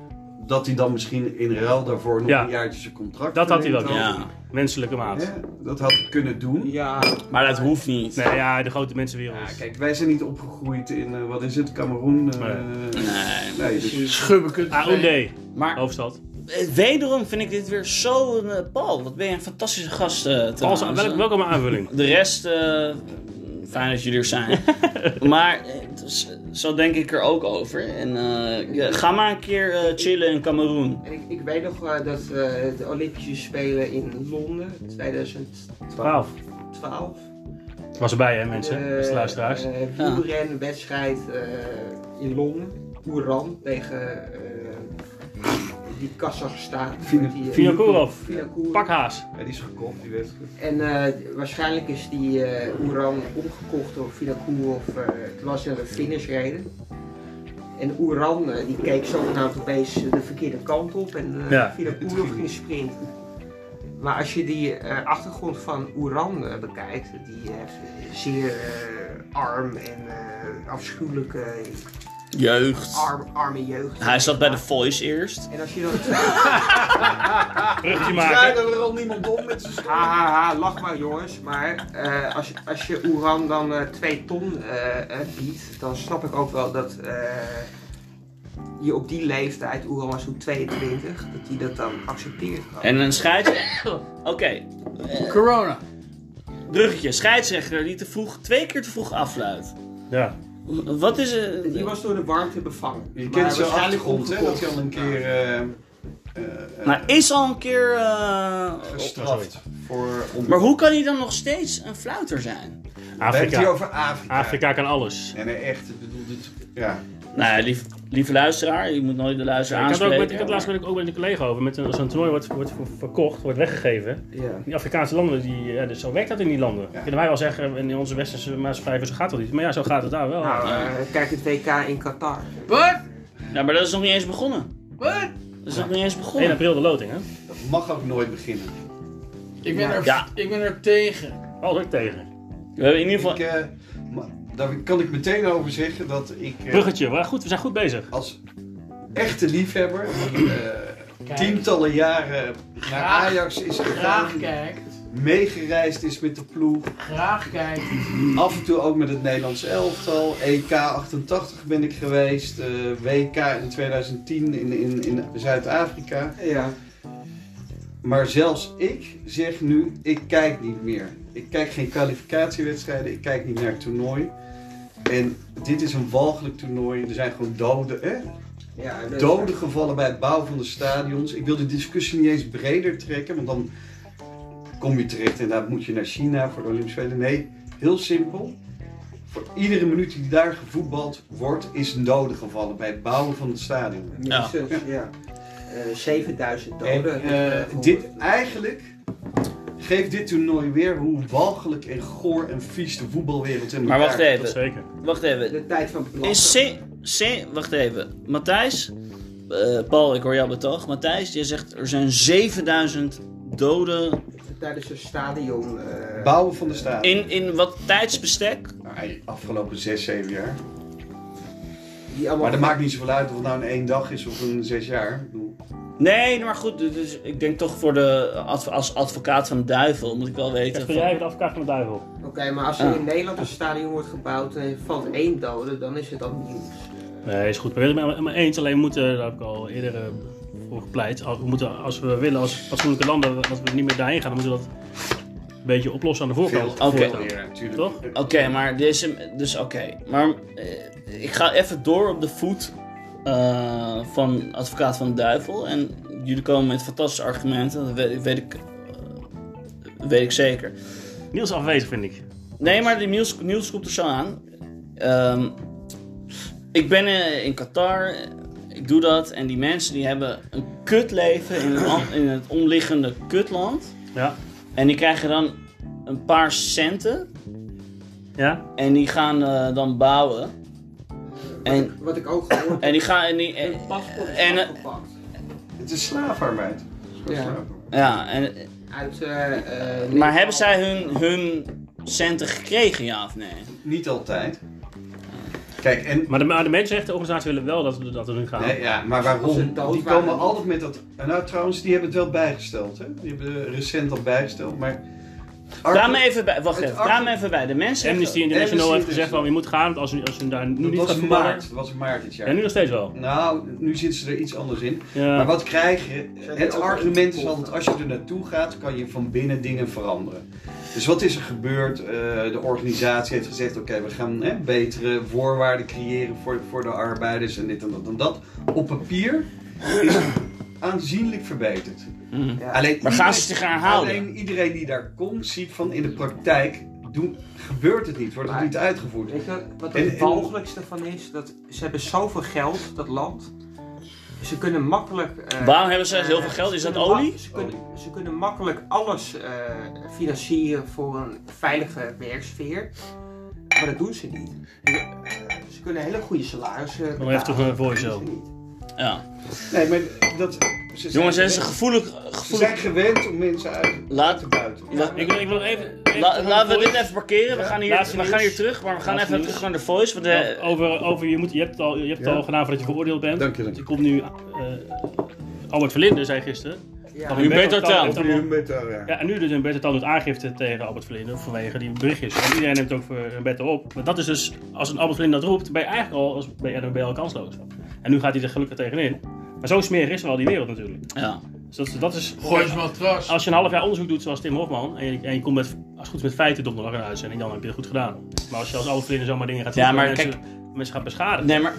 [SPEAKER 5] dat hij dan misschien in ruil daarvoor nog
[SPEAKER 2] Ja.
[SPEAKER 5] een jaartje zijn contract
[SPEAKER 2] Dat had hij wel
[SPEAKER 5] verlengd
[SPEAKER 1] Ja.
[SPEAKER 2] Menselijke maat.
[SPEAKER 5] Hè, Dat had hij kunnen doen.
[SPEAKER 4] Ja,
[SPEAKER 1] Maar dat hoeft niet.
[SPEAKER 2] Nee, ja, de grote mensenwereld.
[SPEAKER 5] Ja, kijk, wij zijn niet opgegroeid in, eh, wat is het, Cameroen? eh,
[SPEAKER 1] Nee.
[SPEAKER 5] nee, dus-
[SPEAKER 3] Schubbekut.
[SPEAKER 2] AOD,
[SPEAKER 1] Maar
[SPEAKER 2] hoofdstad.
[SPEAKER 1] eh, wederom vind ik dit weer zo'n... eh, Paul, wat ben je een fantastische gast eh
[SPEAKER 2] Als,
[SPEAKER 1] trouwens.
[SPEAKER 2] welk, welkom aanvulling.
[SPEAKER 1] De rest, eh, fijn dat jullie er zijn. maar eh, het is- zo denk ik er ook over. En, eh, ja, ga maar een keer eh, chillen in Cameroen.
[SPEAKER 4] en ik, ik weet nog eh, dat eh, de Olympische Spelen in Londen 2012.
[SPEAKER 2] 12. Was erbij, hè, mensen?
[SPEAKER 4] eh,
[SPEAKER 2] beste luisteraars.
[SPEAKER 4] eh, wielrenwedstrijd eh, in Londen. Oeran tegen eh, die Kazachstan.
[SPEAKER 5] Vino-
[SPEAKER 4] die, eh,
[SPEAKER 2] Vinokourov.
[SPEAKER 4] Vinokourov.
[SPEAKER 2] Pakhaas.
[SPEAKER 5] Ja, die is gekocht, die wedstrijd.
[SPEAKER 4] En eh, waarschijnlijk is die eh Oeran omgekocht door Vinakour of eh, het was een finish reden. En Oeran eh, die keek zogenaamd opeens de verkeerde kant op en eh
[SPEAKER 2] Ja.
[SPEAKER 4] via de poel ging sprinten. Maar als je die eh, achtergrond van Oeran eh, bekijkt, die heeft zeer eh, arm en eh, afschuwelijke
[SPEAKER 1] Jeugd.
[SPEAKER 4] arm, arme jeugd.
[SPEAKER 1] Hij zat bij de Voice eerst.
[SPEAKER 4] En als je dan
[SPEAKER 2] Brugje
[SPEAKER 5] Draai
[SPEAKER 2] maken.
[SPEAKER 5] er al niemand om met zijn
[SPEAKER 4] Ha, ha, ha, lach maar jongens, maar eh, als, als je Oeran dan 2 ton eh, eh, biedt, dan snap ik ook wel dat eh, je op die leeftijd, Oeran was toen 22, dat hij dat dan accepteert.
[SPEAKER 1] En een scheidsrechter. Oké,
[SPEAKER 3] Corona.
[SPEAKER 1] bruggetje. Scheidsrechter die te vroeg, twee keer te vroeg afluit.
[SPEAKER 2] Ja.
[SPEAKER 1] Wat is eh,
[SPEAKER 4] Die was door de warmte bevangen.
[SPEAKER 5] Je
[SPEAKER 4] Maar
[SPEAKER 5] kent zo'n
[SPEAKER 4] waarschijnlijk
[SPEAKER 5] achtergrond, hè? Dat
[SPEAKER 4] omgekocht.
[SPEAKER 5] je al een keer eh, eh, eh,
[SPEAKER 1] Maar is al een keer. eh,
[SPEAKER 5] gestraft voor onbedoeld.
[SPEAKER 1] Maar hoe kan hij dan nog steeds een fluiter zijn?
[SPEAKER 5] We hebben het hier
[SPEAKER 2] Afrika.
[SPEAKER 5] over Afrika.
[SPEAKER 2] Afrika kan alles.
[SPEAKER 5] En eh, echt, ik bedoel, dit, ja.
[SPEAKER 1] Nou, ja, lief, lieve luisteraar, je moet nooit de luisteraar
[SPEAKER 2] Ik had, ook
[SPEAKER 1] aanspreken.
[SPEAKER 2] met, ik had laatst met, ook met een collega over. Met een- zo'n toernooi wordt, wordt ver- verkocht, wordt weggegeven.
[SPEAKER 4] Ja.
[SPEAKER 2] Die Afrikaanse landen, die, ja, dus zo werkt dat in die landen. Kunnen wij wel zeggen, in onze westerse maatschappij, zo gaat dat niet. Maar ja, zo gaat het daar wel.
[SPEAKER 4] Nou, eh, kijk het WK in Qatar.
[SPEAKER 3] Wat?
[SPEAKER 1] Ja, maar dat is nog niet eens begonnen.
[SPEAKER 3] Wat?
[SPEAKER 1] Dat is nog niet eens
[SPEAKER 2] 1
[SPEAKER 1] begonnen.
[SPEAKER 2] april de loting, hè?
[SPEAKER 5] Dat mag ook nooit beginnen.
[SPEAKER 3] Ik ben, er,
[SPEAKER 1] Ja.
[SPEAKER 3] ik ben er tegen.
[SPEAKER 2] Altijd tegen.
[SPEAKER 1] We hebben in ieder
[SPEAKER 5] Ik,
[SPEAKER 1] geval.
[SPEAKER 5] eh, ma- daar kan ik meteen over zeggen dat ik eh,
[SPEAKER 2] Bruggetje, we, goed, we zijn goed bezig.
[SPEAKER 5] als echte liefhebber, die eh, tientallen jaren naar Ajax is
[SPEAKER 3] Graag
[SPEAKER 5] gegaan,
[SPEAKER 3] kijkt.
[SPEAKER 5] meegereisd is met de ploeg,
[SPEAKER 3] Graag kijkt.
[SPEAKER 5] af en toe ook met het Nederlands elftal, EK 88 ben ik geweest, eh, WK in 2010 in, in, in Zuid-Afrika.
[SPEAKER 4] Ja.
[SPEAKER 5] Maar zelfs ik zeg nu, ik kijk niet meer. Ik kijk geen kwalificatiewedstrijden, ik kijk niet naar het toernooi. En dit is een walgelijk toernooi. Er zijn gewoon doden, hè?
[SPEAKER 4] ja dat-
[SPEAKER 5] doden gevallen bij het bouwen van de stadions. Ik wil de discussie niet eens breder trekken, want dan kom je terecht en daar moet je naar China voor de Olympische Spelen. Nee, heel simpel. Voor iedere minuut die daar gevoetbald wordt, is een dode gevallen bij het bouwen van het stadion.
[SPEAKER 1] Ja.
[SPEAKER 4] Minstens, ja. Eh, 7000
[SPEAKER 5] En
[SPEAKER 4] doden.
[SPEAKER 5] eh,
[SPEAKER 4] Eh,
[SPEAKER 5] dit eigenlijk geeft dit toernooi weer hoe walgelijk en goor en vies de voetbalwereld in
[SPEAKER 1] Maar
[SPEAKER 5] elkaar
[SPEAKER 1] wacht
[SPEAKER 2] Dat
[SPEAKER 1] even,
[SPEAKER 2] zeker.
[SPEAKER 1] wacht even.
[SPEAKER 4] De tijd van Blatter.
[SPEAKER 1] Is C, C, wacht even. Matthijs, eh, Paul, ik hoor jou betoog. Matthijs, jij zegt er zijn 7000 doden
[SPEAKER 4] Tijdens een stadion. eh,
[SPEAKER 5] Bouwen van de staat.
[SPEAKER 1] in, in wat tijdsbestek?
[SPEAKER 5] Afgelopen 6, 7 jaar.
[SPEAKER 4] die allemaal
[SPEAKER 5] Maar dat maakt niet zoveel uit of het nou in één dag is of in zes jaar. Ik bedoel,
[SPEAKER 1] Nee, maar goed, dus ik denk toch voor de, adv- als advocaat van de duivel moet ik wel weten.
[SPEAKER 2] Jesper,
[SPEAKER 1] Van,
[SPEAKER 2] jij hebt de afkaart van de duivel.
[SPEAKER 4] Oké, maar als er
[SPEAKER 1] Ah.
[SPEAKER 4] in Nederland een stadion wordt gebouwd en er valt één dode, dan is het dan nieuws.
[SPEAKER 2] Nee, is goed. We willen het maar eens. Alleen moeten, daar heb ik al eerder eh, voor gepleit. Als we, moeten, als we willen, als fatsoenlijke landen, als we niet meer daarheen gaan, dan moeten we dat een beetje oplossen aan de
[SPEAKER 5] veel
[SPEAKER 2] voorkant.
[SPEAKER 5] te
[SPEAKER 1] Oké.
[SPEAKER 5] veel weer, natuurlijk.
[SPEAKER 2] Toch?
[SPEAKER 1] Oké, maar deze. Dus oké. Maar eh, ik ga even door op de voet eh, van Advocaat van de Duivel. En jullie komen met fantastische argumenten. Dat weet, weet ik, eh, weet ik zeker.
[SPEAKER 2] Niels afwezig, vind ik.
[SPEAKER 1] Nee, maar de Niels, Niels komt er zo aan. Ehm, ik ben eh, in Qatar. Ik doe dat. En die mensen die hebben een kutleven in, een an- in het omliggende kutland.
[SPEAKER 2] Ja.
[SPEAKER 1] En die krijgen dan een paar centen.
[SPEAKER 2] Ja?
[SPEAKER 1] En die gaan eh, dan bouwen. En,
[SPEAKER 4] Wat ik ook gehoord heb,
[SPEAKER 1] en die gaan. En die, en,
[SPEAKER 4] een paspoort is
[SPEAKER 1] en, eh,
[SPEAKER 4] afgepakt.
[SPEAKER 5] Het is slaafarbeid. Het is gewoon
[SPEAKER 4] Ja.
[SPEAKER 5] slaafarbeid.
[SPEAKER 1] eh, ja, en,
[SPEAKER 4] Uit, eh, eh, Nepal.
[SPEAKER 1] maar hebben zij hun, hun centen gekregen, ja of nee?
[SPEAKER 5] Niet altijd. Kijk, en
[SPEAKER 2] Maar de, maar de mensenrechtenorganisaties willen wel dat we dat we nu gaan.
[SPEAKER 5] Nee, ja, maar
[SPEAKER 4] Als
[SPEAKER 5] waarom?
[SPEAKER 4] ze dood
[SPEAKER 5] Die
[SPEAKER 4] waren.
[SPEAKER 5] komen altijd met dat. en Nou, trouwens, die hebben het wel bijgesteld. Hè? Die hebben eh, recent al bijgesteld. Maar.
[SPEAKER 1] Praat me even bij. Wacht
[SPEAKER 5] het
[SPEAKER 1] even.
[SPEAKER 5] Arke-
[SPEAKER 1] Praat me even bij. De mensen.
[SPEAKER 2] Amnesty International
[SPEAKER 5] Amnesty
[SPEAKER 2] heeft gezegd van je moet gaan, want als je, als je daar nu
[SPEAKER 5] Dat
[SPEAKER 2] niet
[SPEAKER 5] was
[SPEAKER 2] gaat
[SPEAKER 5] in
[SPEAKER 2] voetballen-
[SPEAKER 5] maart. Dat was in maart dit jaar.
[SPEAKER 2] Ja, nu nog steeds wel.
[SPEAKER 5] Nou, nu zitten ze er iets anders in.
[SPEAKER 2] Ja.
[SPEAKER 5] Maar wat krijg je?
[SPEAKER 4] Zijn die
[SPEAKER 5] Het
[SPEAKER 4] ook
[SPEAKER 5] argument is
[SPEAKER 4] ontkoppeld?
[SPEAKER 5] altijd, als je er naartoe gaat, kan je van binnen dingen veranderen. Dus wat is er gebeurd? Eh, de organisatie heeft gezegd, oké, we gaan hè, betere voorwaarden creëren voor, voor de arbeiders en dit en dat en dat. Op papier is het aanzienlijk verbeterd.
[SPEAKER 1] Mhm.
[SPEAKER 4] Ja.
[SPEAKER 5] Alleen
[SPEAKER 1] Maar gaan ze zich herhalen?
[SPEAKER 5] Alleen iedereen die daar komt, ziet van in de praktijk doen, gebeurt het niet, wordt het
[SPEAKER 4] Maar-
[SPEAKER 5] niet uitgevoerd.
[SPEAKER 4] Weet je wat
[SPEAKER 5] En-
[SPEAKER 4] het
[SPEAKER 5] en-
[SPEAKER 4] walgelijkste van is? Dat ze hebben zoveel geld, dat land. Ze kunnen makkelijk. eh,
[SPEAKER 1] Waarom hebben ze
[SPEAKER 4] eh,
[SPEAKER 1] heel veel geld? Is dat
[SPEAKER 4] kunnen ma-
[SPEAKER 1] olie?
[SPEAKER 4] Ze kunnen, ze kunnen makkelijk alles eh, financieren voor een veilige werksfeer. Maar dat doen ze niet. Eh, ze kunnen hele goede salarissen
[SPEAKER 2] Maar hij heeft toch een voice-over.
[SPEAKER 1] Ja.
[SPEAKER 5] Nee, maar dat... Ze zijn
[SPEAKER 1] Jongens, het is een
[SPEAKER 5] gewend-
[SPEAKER 1] gevoelig...
[SPEAKER 5] Ze
[SPEAKER 1] gevoelig...
[SPEAKER 5] zijn gewend om mensen uit
[SPEAKER 1] Laat,
[SPEAKER 5] te buiten.
[SPEAKER 1] la-
[SPEAKER 2] Ik wil, ik wil nog even...
[SPEAKER 1] la-
[SPEAKER 2] even-
[SPEAKER 1] laten we dit even parkeren. We gaan hier,
[SPEAKER 2] Laatste
[SPEAKER 1] we gaan hier
[SPEAKER 2] nieuws.
[SPEAKER 1] terug, maar we gaan
[SPEAKER 2] Laatste
[SPEAKER 1] even
[SPEAKER 2] nieuws. oh.
[SPEAKER 1] terug naar de voice. Want de,
[SPEAKER 2] Over, over je, moet, je hebt het al, je hebt het
[SPEAKER 5] Ja.
[SPEAKER 2] al gedaan voordat je veroordeeld bent.
[SPEAKER 5] Dank je, dank
[SPEAKER 2] Want
[SPEAKER 5] je.
[SPEAKER 2] je komt nu... eh, Albert Verlinde zei gisteren... dat
[SPEAKER 1] Hubert
[SPEAKER 2] Hubert
[SPEAKER 1] Hotel.
[SPEAKER 2] Hotel heeft
[SPEAKER 5] Over
[SPEAKER 2] allemaal-
[SPEAKER 5] hun beta, ja.
[SPEAKER 2] Ja, en nu dus Humberto Tan doet aangifte tegen Albert Vlinder vanwege die berichtjes. Want iedereen neemt ook voor Humberto op. Maar dat is dus, als een Albert Vlinder dat roept, ben je eigenlijk al, als, ben je, dan ben je al kansloos. En nu gaat hij er gelukkig tegenin. Maar zo smerig is wel die wereld natuurlijk.
[SPEAKER 1] ja.
[SPEAKER 2] Dus dat, dat is...
[SPEAKER 3] Gooi eens matras.
[SPEAKER 2] Als je een half jaar onderzoek doet zoals Tim Hofman en je, en je komt met, als het goed is met feiten donderdag in de uitzending, dan heb je het goed gedaan. Maar als je als Albert Vlinder zomaar dingen gaat
[SPEAKER 1] Ja, maar
[SPEAKER 2] mensen, mensen gaat beschadigen.
[SPEAKER 1] Nee, maar...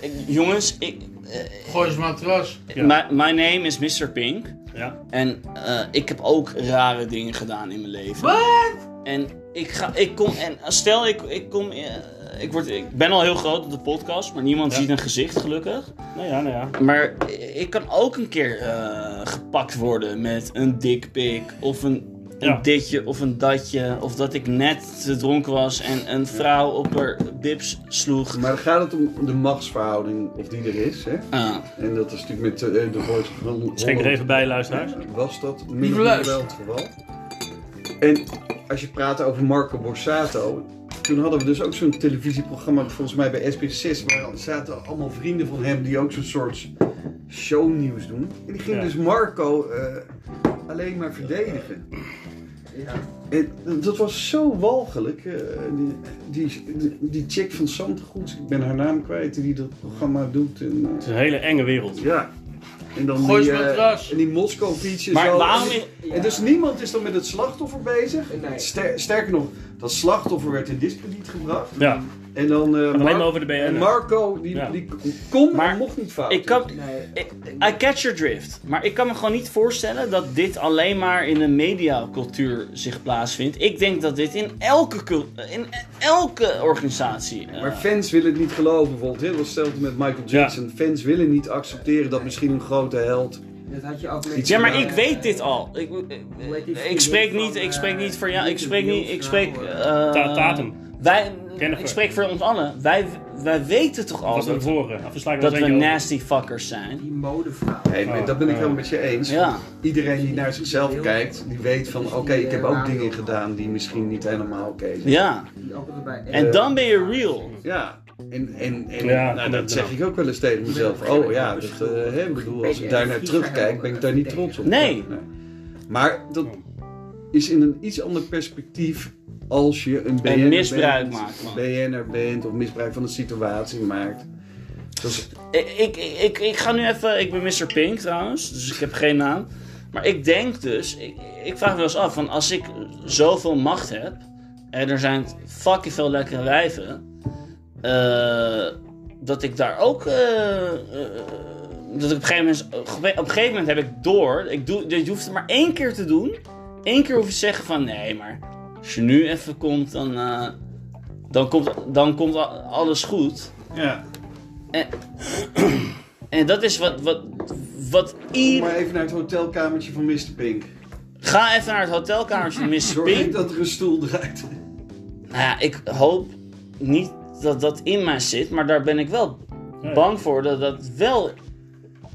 [SPEAKER 1] eh, jongens, ik, eh,
[SPEAKER 3] Gooi eens matras.
[SPEAKER 2] Ja.
[SPEAKER 1] my, my name is Mr. Pink.
[SPEAKER 2] Ja.
[SPEAKER 1] En eh, ik heb ook rare dingen gedaan in mijn leven. En ik ga, ik kom, en eh, stel ik, ik kom, eh, ik, word, ik ben al heel groot op de podcast, maar niemand
[SPEAKER 2] Ja.
[SPEAKER 1] ziet een gezicht gelukkig.
[SPEAKER 2] Nou ja, nou ja.
[SPEAKER 1] Maar ik kan ook een keer eh, gepakt worden met een dikpik of een, een
[SPEAKER 2] Ja.
[SPEAKER 1] ditje of een datje. Of dat ik net te dronken was en een vrouw op haar bips sloeg.
[SPEAKER 5] Maar dan gaat het om de machtsverhouding, of die er is. Hè?
[SPEAKER 1] Ah,
[SPEAKER 5] En dat is natuurlijk met eh, de Voice van Holland.
[SPEAKER 2] Schenk er even bij, luisteraars.
[SPEAKER 5] Was dat min of meer wel
[SPEAKER 3] luisteren.
[SPEAKER 5] het geval? En als je praat over Marco Borsato. Toen hadden we dus ook zo'n televisieprogramma, volgens mij bij SBS6. Maar dan zaten allemaal vrienden van hem die ook zo'n soort shownieuws doen. En die gingen
[SPEAKER 2] Ja.
[SPEAKER 5] dus Marco eh, alleen maar verdedigen. En Eh, dat was zo walgelijk. eh, die, die, die, die chick van Zandgoed, ik ben haar naam kwijt, die dat programma doet. En, eh,
[SPEAKER 2] Het is een hele enge wereld.
[SPEAKER 5] ja. En dan
[SPEAKER 3] Gooi
[SPEAKER 5] die,
[SPEAKER 3] eens met
[SPEAKER 5] eh,
[SPEAKER 3] ras.
[SPEAKER 5] en die Moskou-fietsjes.
[SPEAKER 1] Maar
[SPEAKER 5] zo.
[SPEAKER 1] waarom...
[SPEAKER 5] En dus niemand is dan met het slachtoffer bezig.
[SPEAKER 4] Nee.
[SPEAKER 5] Ster- sterker nog, dat slachtoffer werd in discrediet gebracht.
[SPEAKER 2] Ja,
[SPEAKER 5] En dan eh,
[SPEAKER 2] alleen
[SPEAKER 5] Mar-
[SPEAKER 2] maar over de BN'er.
[SPEAKER 5] en Marco, die,
[SPEAKER 2] Ja.
[SPEAKER 5] die kon
[SPEAKER 1] Maar
[SPEAKER 5] en mocht niet fout.
[SPEAKER 1] Ik kan, ik- I catch your drift. Maar ik kan me gewoon niet voorstellen dat dit alleen maar in de mediacultuur zich plaatsvindt. Ik denk dat dit in elke, cul- in elke organisatie. eh,
[SPEAKER 5] Maar fans willen het niet geloven. Bijvoorbeeld, heel hetzelfde met Michael
[SPEAKER 2] Ja.
[SPEAKER 5] Jackson. Fans willen niet accepteren dat misschien een grote held.
[SPEAKER 4] Dat had je ook met...
[SPEAKER 1] ja, maar
[SPEAKER 4] eh,
[SPEAKER 1] ik weet dit al. Ik, eh,
[SPEAKER 4] heet die
[SPEAKER 1] ik spreek
[SPEAKER 4] vriendin
[SPEAKER 1] niet,
[SPEAKER 4] van,
[SPEAKER 1] ik spreek
[SPEAKER 4] eh,
[SPEAKER 1] niet voor jou.
[SPEAKER 4] niet
[SPEAKER 1] Ik
[SPEAKER 4] de
[SPEAKER 1] spreek niet.
[SPEAKER 4] Beatles,
[SPEAKER 1] Ik spreek.
[SPEAKER 4] nou,
[SPEAKER 1] eh,
[SPEAKER 2] Ta- Tatum.
[SPEAKER 1] Wij,
[SPEAKER 2] Jennifer.
[SPEAKER 1] ik spreek voor ons allen. Wij, wij weten toch al
[SPEAKER 2] Dat was de
[SPEAKER 1] dat,
[SPEAKER 2] vorige. Of we eh, slaan er
[SPEAKER 1] dat
[SPEAKER 2] nog
[SPEAKER 1] we
[SPEAKER 2] eentje over.
[SPEAKER 1] nasty fuckers zijn.
[SPEAKER 4] Die modevrouw.
[SPEAKER 5] Nee, maar dat ben ik helemaal met je eens.
[SPEAKER 1] Ja.
[SPEAKER 5] Iedereen die naar zichzelf kijkt, die weet van... Oké, ik heb ook dingen gedaan die misschien niet helemaal oké zijn.
[SPEAKER 1] Ja.
[SPEAKER 4] Die ook erbij.
[SPEAKER 1] En
[SPEAKER 5] Eh.
[SPEAKER 1] dan ben je real.
[SPEAKER 5] Ja, en, en, en
[SPEAKER 2] Ja,
[SPEAKER 5] nou, dat
[SPEAKER 2] inderdaad.
[SPEAKER 5] zeg ik ook wel eens tegen mezelf. Oh ja, dat, eh, hè, ik bedoel, als ik daar naar terugkijk, ben ik daar niet trots op.
[SPEAKER 1] Nee.
[SPEAKER 5] Maar dat is in een iets ander perspectief als je een BN'er
[SPEAKER 1] misbruik
[SPEAKER 5] bent,
[SPEAKER 1] maakt, man.
[SPEAKER 5] BN'er bent of misbruik van de situatie maakt. Dat is-
[SPEAKER 1] Ik, ik, ik, ik ga nu even. Ik ben Mr. Pink trouwens, dus ik heb geen naam. Maar ik denk dus, ik, ik vraag me wel eens af: van als ik zoveel macht heb en er zijn fucking veel lekkere wijven, eh, dat ik daar ook. eh, eh, dat ik op een, gegeven moment, op een gegeven moment heb ik door. Ik doe, je hoeft het maar één keer te doen. Eén keer hoef je te zeggen van nee, maar als je nu even komt, dan, eh, dan, komt, dan komt al- alles goed.
[SPEAKER 5] ja.
[SPEAKER 1] En dat is wat, wat, wat
[SPEAKER 5] Kom maar
[SPEAKER 1] ieder...
[SPEAKER 5] even naar het hotelkamertje van Mr. Pink.
[SPEAKER 1] Ga even naar het hotelkamertje van Mr.
[SPEAKER 5] Zorg
[SPEAKER 1] Pink.
[SPEAKER 5] niet dat er een stoel draait.
[SPEAKER 1] Nou ja, ik hoop niet dat dat in mij zit, maar daar ben ik wel
[SPEAKER 2] Nee.
[SPEAKER 1] bang voor dat dat wel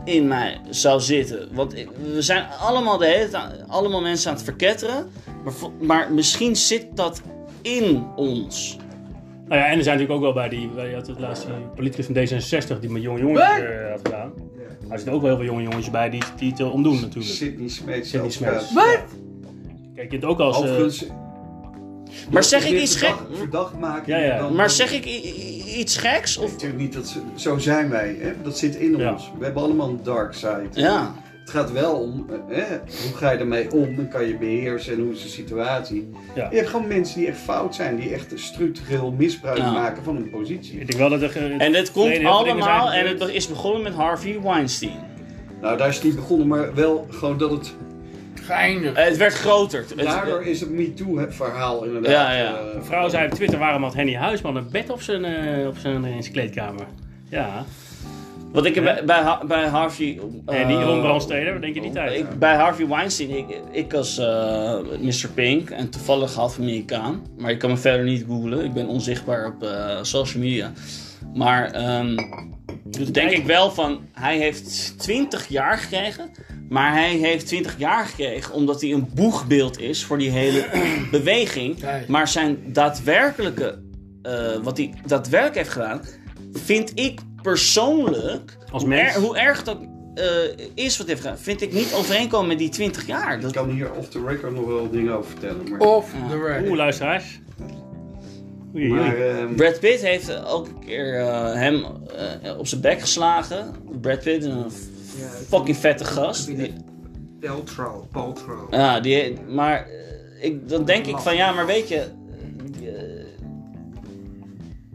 [SPEAKER 1] in mij zou zitten. Want ik- we zijn allemaal de hele tijd, allemaal mensen aan het verketteren, maar, vo- maar misschien zit dat in ons.
[SPEAKER 2] Nou ja, en er zijn natuurlijk ook wel bij die, bij, je had het laatste politicus van D66 die met jonge jongens eh, had gedaan. Maar er zitten ook wel heel veel jonge jongens bij die, die het wil omdoen natuurlijk.
[SPEAKER 5] Sydney Smeets.
[SPEAKER 2] Sidney
[SPEAKER 5] zelfpraat.
[SPEAKER 2] Smeets. Wat? Kijk, je hebt ook als... eh,
[SPEAKER 5] Overigens...
[SPEAKER 1] Maar zeg ik
[SPEAKER 5] dit
[SPEAKER 1] iets
[SPEAKER 5] verdacht-
[SPEAKER 1] gek-
[SPEAKER 5] Verdacht maken.
[SPEAKER 2] Ja, ja.
[SPEAKER 5] dan-
[SPEAKER 1] Maar zeg ik i- i- iets geks? Of...
[SPEAKER 5] Natuurlijk niet, dat, ze- zo zijn wij. Hè? Dat zit in
[SPEAKER 2] Ja.
[SPEAKER 5] ons. We hebben allemaal een dark side.
[SPEAKER 1] Ja,
[SPEAKER 5] Het gaat wel om, eh, hè? hoe ga je ermee om en kan je beheersen en hoe is de situatie.
[SPEAKER 2] Ja.
[SPEAKER 5] Je hebt gewoon mensen die echt fout zijn, die echt structureel misbruik
[SPEAKER 1] Ja.
[SPEAKER 5] maken van hun positie.
[SPEAKER 2] ik denk wel dat er... eh,
[SPEAKER 1] en dit komt
[SPEAKER 2] nee, heel veel dingen zijn
[SPEAKER 1] allemaal en
[SPEAKER 2] gebeurd.
[SPEAKER 1] het is begonnen met Harvey Weinstein.
[SPEAKER 5] Nou, daar is het niet begonnen, maar wel gewoon dat het...
[SPEAKER 3] Geëindigd.
[SPEAKER 1] Eh, Het werd groter. Het-
[SPEAKER 5] Daardoor is het MeToo-verhaal inderdaad.
[SPEAKER 1] Ja, ja.
[SPEAKER 5] eh,
[SPEAKER 2] Een vrouw zei op Twitter waarom had Henny Huisman een bed op zijn, eh, op zijn, eh, in zijn kleedkamer. Ja,
[SPEAKER 1] Want ik heb
[SPEAKER 2] Hè?
[SPEAKER 1] bij, bij, Ha- bij Harvey...
[SPEAKER 2] en die
[SPEAKER 1] eh, oh,
[SPEAKER 2] Jeroen Brandsteder, wat denk je die tijd?
[SPEAKER 1] ik, bij Harvey Weinstein, ik, ik als eh, Mr. Pink en toevallig half Amerikaan, maar ik kan me verder niet googlen, ik ben onzichtbaar op eh, social media. Maar ehm, denk ik wel van, hij heeft 20 jaar gekregen. Maar hij heeft 20 jaar gekregen omdat hij een boegbeeld is voor die hele beweging.
[SPEAKER 3] Kijk.
[SPEAKER 1] Maar zijn daadwerkelijke, eh, wat hij daadwerkelijk heeft gedaan, vind ik persoonlijk,
[SPEAKER 2] Als
[SPEAKER 1] hoe,
[SPEAKER 2] mens.
[SPEAKER 1] er- hoe erg dat eh, is wat hij heeft gedaan, vind ik niet overeenkomen met die 20 jaar.
[SPEAKER 5] Ik
[SPEAKER 1] Dat,
[SPEAKER 5] kan hier off the record nog wel dingen over vertellen. Maar,
[SPEAKER 3] Of
[SPEAKER 1] Ja.
[SPEAKER 3] the
[SPEAKER 2] Oeh,
[SPEAKER 3] record.
[SPEAKER 2] luisteraars. Oei, oei.
[SPEAKER 5] maar ehm,
[SPEAKER 1] Brad Pitt heeft ook een keer eh, hem eh, op zijn bek geslagen. Brad Pitt, een
[SPEAKER 4] Ja,
[SPEAKER 1] fucking vette gast.
[SPEAKER 4] ik
[SPEAKER 1] Die,
[SPEAKER 4] weet Peltro, Paltro.
[SPEAKER 1] ja, die, maar eh, ik, dan denk ik van ja, maar weet je, eh,